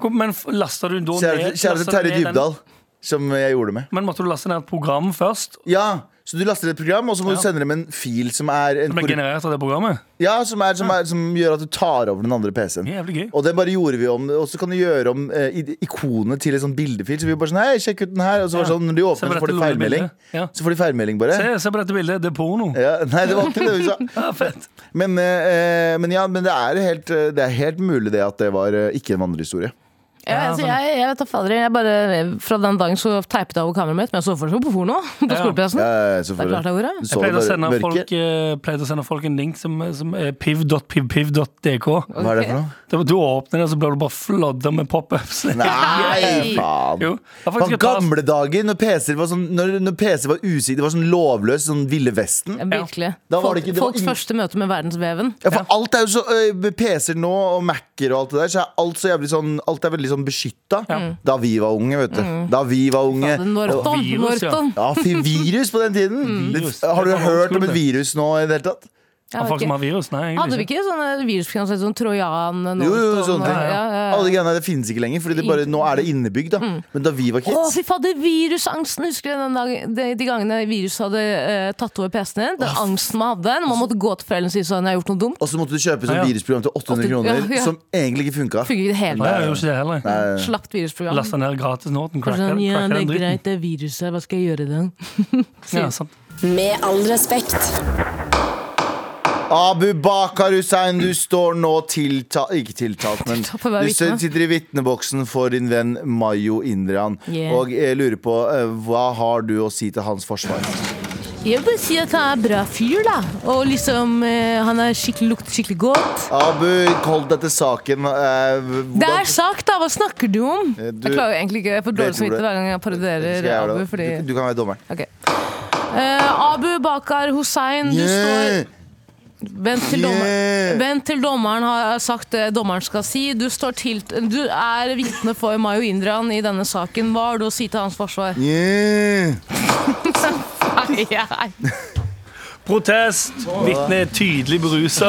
Hvor- Men f- lasta du da
Kjære,
ned
kjære til
lastet du
Terje
ned den-
Dybdahl, som jeg gjorde det med.
Men måtte du laste ned et program først?
Ja, så du laster et program, og så må
Ja.
du sende dem en fil som er, en
Som ble
korru-
generert av det programmet?
ja, som, er, som, er, som gjør at du tar over den andre PC-en.
Jævlig gøy.
Og det bare gjorde vi om, og så kan du gjøre om eh, i- ikonet til et sånn bildefil. Så vi bare sånn Hei, sjekk ut den her. Og så var det
Ja.
sånn, når de
Se
åpner,
på
så får de
dette lille
feilmelding.
bildet. Ja.
Så får de feilmelding, bare.
Se, se på dette bildet, det er porno.
Ja, nei, det var ikke det vi sa.
Ja, fett.
Men, eh, men ja, men det er, helt, eh, det er helt mulig det at det var eh, ikke en vandrehistorie.
Ja,
Ja,
altså,
sånn.
jeg, jeg vet da fader, jeg bare, Fra den dagen så teipet jeg over kameraet mitt, men jeg så fortsatt på porno. På
Ja.
skoleplassen.
Ja, ja, ja,
Det er klart
selvfølgelig.
jeg gjorde.
Du så
Jeg pleide å,
det
sende
bare
folk,
mørket.
eh, pleide å sende folk en link som, som er piv.pivpiv.dk.
Hva er det for noe?
Det var- Du åpner det, og så blir du bare flodda med pop-ups.
Nei, faen!
Jo, det er
På
faktisk et par-
gamle dager, når PC-er var sånn Når, når PC var usidig, det var sånn lovløs, sånn Ville Vesten.
Ja, virkelig.
Da var
Folk,
det ikke- det var
folks
ingen-
første møte med verdensveven.
Ja, for alt er jo så ø, Med PC-er nå, og Mac-er og alt det der, så er alt så jævlig sånn Alt er veldig sånn beskytta.
Mm.
Da vi var unge, vet du.
Mm.
Da vi var unge.
Fader, Norton.
virus, ja.
Norton.
Ja, fy virus på den tiden!
Virus.
Mm.
Det, har du
Det var
hørt om
old
et
school, det.
virus nå i det hele tatt?
Av folk som har virus? Nei,
Hadde
egentlig
vi ikke sånne virusbekjennelser som Trojan?
Jo, jo, jo, sånne ting.
ja, ja, ja.
Alle de greiene der finnes ikke lenger, Fordi det bare, nå er det innebygd. da Men da vi var
Å,
kids
fy fader, virusangsten! Husker du den dagen, de, de gangene virus hadde eh, tatt over PC-en din? Den angsten man hadde når man måtte gå til foreldrene og si sånn 'jeg har gjort noe dumt'.
Og så måtte du kjøpe sånn
Ja, ja.
virusprogram til 800 kroner,
Ja, ja.
som egentlig ikke funka.
Funker ikke helt.
Nei, jeg gjorde ikke det heller.
Slapt virusprogram.
Lasta ned gratis Norton. Cracka
Sånn,
cracka
ja, det
den
er
dritten.
greit, det er viruset. Hva skal jeg gjøre i dag?
Ja, sant.
Med all respekt.
Abu Bakar Hussein, du står nå tiltalt Ikke tiltalt, men
Tiltalt for å være
du
vitne.
sitter i vitneboksen for din venn Mayo Indrian.
Yeah.
Og jeg lurer på, eh, hva har du å si til hans forsvar?
Jeg vil bare si at han er en bra fyr, da. Og liksom, eh, han er skikkelig, lukter skikkelig godt.
Abu, hold deg til saken. eh, hvordan-
Det er sagt, da! Hva snakker du om?
Eh, du-
jeg klarer jo egentlig ikke, jeg
Det
får
tror
dårlig
jeg.
samvittighet hver gang jeg
Skal
parodierer
jeg gjøre
Abu.
det?
Fordi,
du, du kan være dommeren.
ok. Eh, Abu Bakar Hussein, Mm, du
Yeah.
står Vent til, dommer,
Yeah.
vent til dommeren har sagt det dommeren skal si. Du, står tilt, du er vitne for Mayo Indrian i denne saken. Hva har du å si til hans forsvar?
Yeah.
Protest! Vitne er tydelig berusa.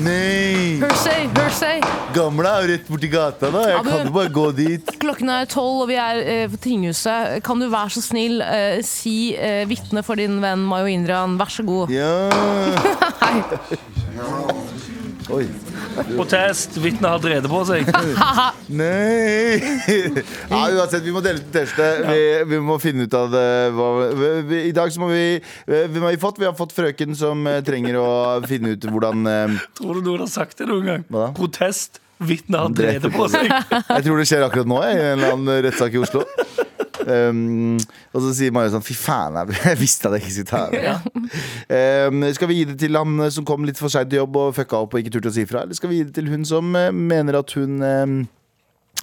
Nei!
Hersey, Hersey.
Gamla er jo rett borti gata, da. Jeg
Abu.
kan jo bare gå dit.
Klokken er tolv, og vi er eh, på tinghuset. Kan du være så snill eh, si eh, vitne for din venn Mayo Indrian? Vær så god.
Ja. Oi.
Protest! Vitne har drevet på seg.
Nei! Ja, uansett, vi må dele ut T-skjorte. Vi, vi må finne ut av det. Hva, vi, vi, I dag så må vi eh, Hvem har vi fått? Vi har fått frøken som eh, trenger å finne ut hvordan eh,
Tror du noen har sagt det noen gang?
Hva da?
Protest! Vitne har
Drept
drevet på seg.
Jeg tror det skjer akkurat nå, jeg, i en eller annen rettssak i Oslo. Um, og så sier Mario sånn Fy faen, jeg, jeg visste at jeg ikke skulle ta det. Um, skal vi gi det til han eh, som kom litt for seint til jobb og fucka opp og ikke turte å si fra? Eller skal vi gi det til hun som eh, mener at hun eh,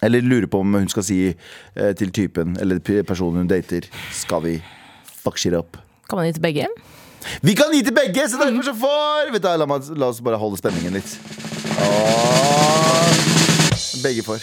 Eller lurer på om hun skal si eh, til typen eller p- personen hun dater Skal vi fuck shit up?
Kan man gi til begge?
Vi kan gi til begge, så derfor så får Vet du, hva, la, meg, la oss bare holde spenningen litt. Åh. Begge får.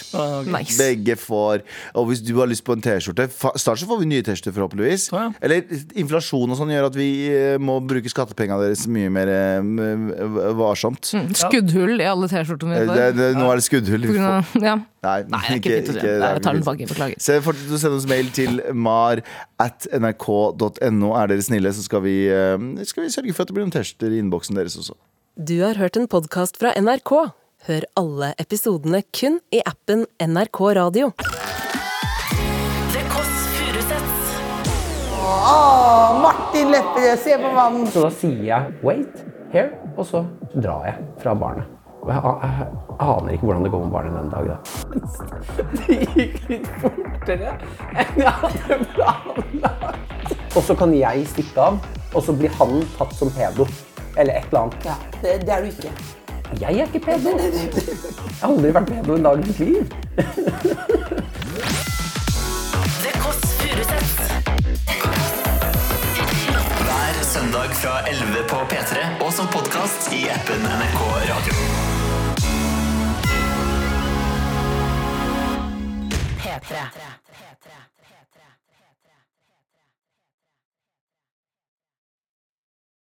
Nice.
Begge får. Og hvis du har lyst på en T-skjorte fa- Snart så får vi nye T-skjorter, forhåpentligvis.
Ja, ja.
Eller inflasjon og sånn gjør at vi eh, må bruke skattepengene deres mye mer eh, m- v- varsomt.
Skuddhull i alle T-skjortene
Eh,
mine.
Det, det, nå er det skuddhull.
Mm. På
Vi
grunn
får-
av- Ja.
Nei,
Nei, det er ikke, fint å si. Nei, jeg tar den tilbake. Beklager.
Så fortsett å sende oss mail til mar at nrk.no. Er dere snille, så skal vi, eh, skal vi sørge for at det blir noen T-skjorter i innboksen deres også.
Du har hørt en podkast fra NRK. Hør alle episodene kun i appen NRK Radio.
The Kåss Furuseths.
Martin Lepperød, se på mannen! Så da sier jeg 'wait here', og så drar jeg fra barnet. Og jeg, a- jeg, aner ikke hvordan det går med barnet den dag, da. Det gikk litt fortere enn jeg hadde planlagt. Og så kan jeg stikke av, og så blir han tatt som pedo. Eller et eller annet. det, er du ikke. Jeg er ikke pedo. Jeg har aldri vært pedo en dag i mitt liv.
The Kåss Furuseths.
Hver søndag fra 11 på P3 og som podkast i appen NRK Radio.
P3.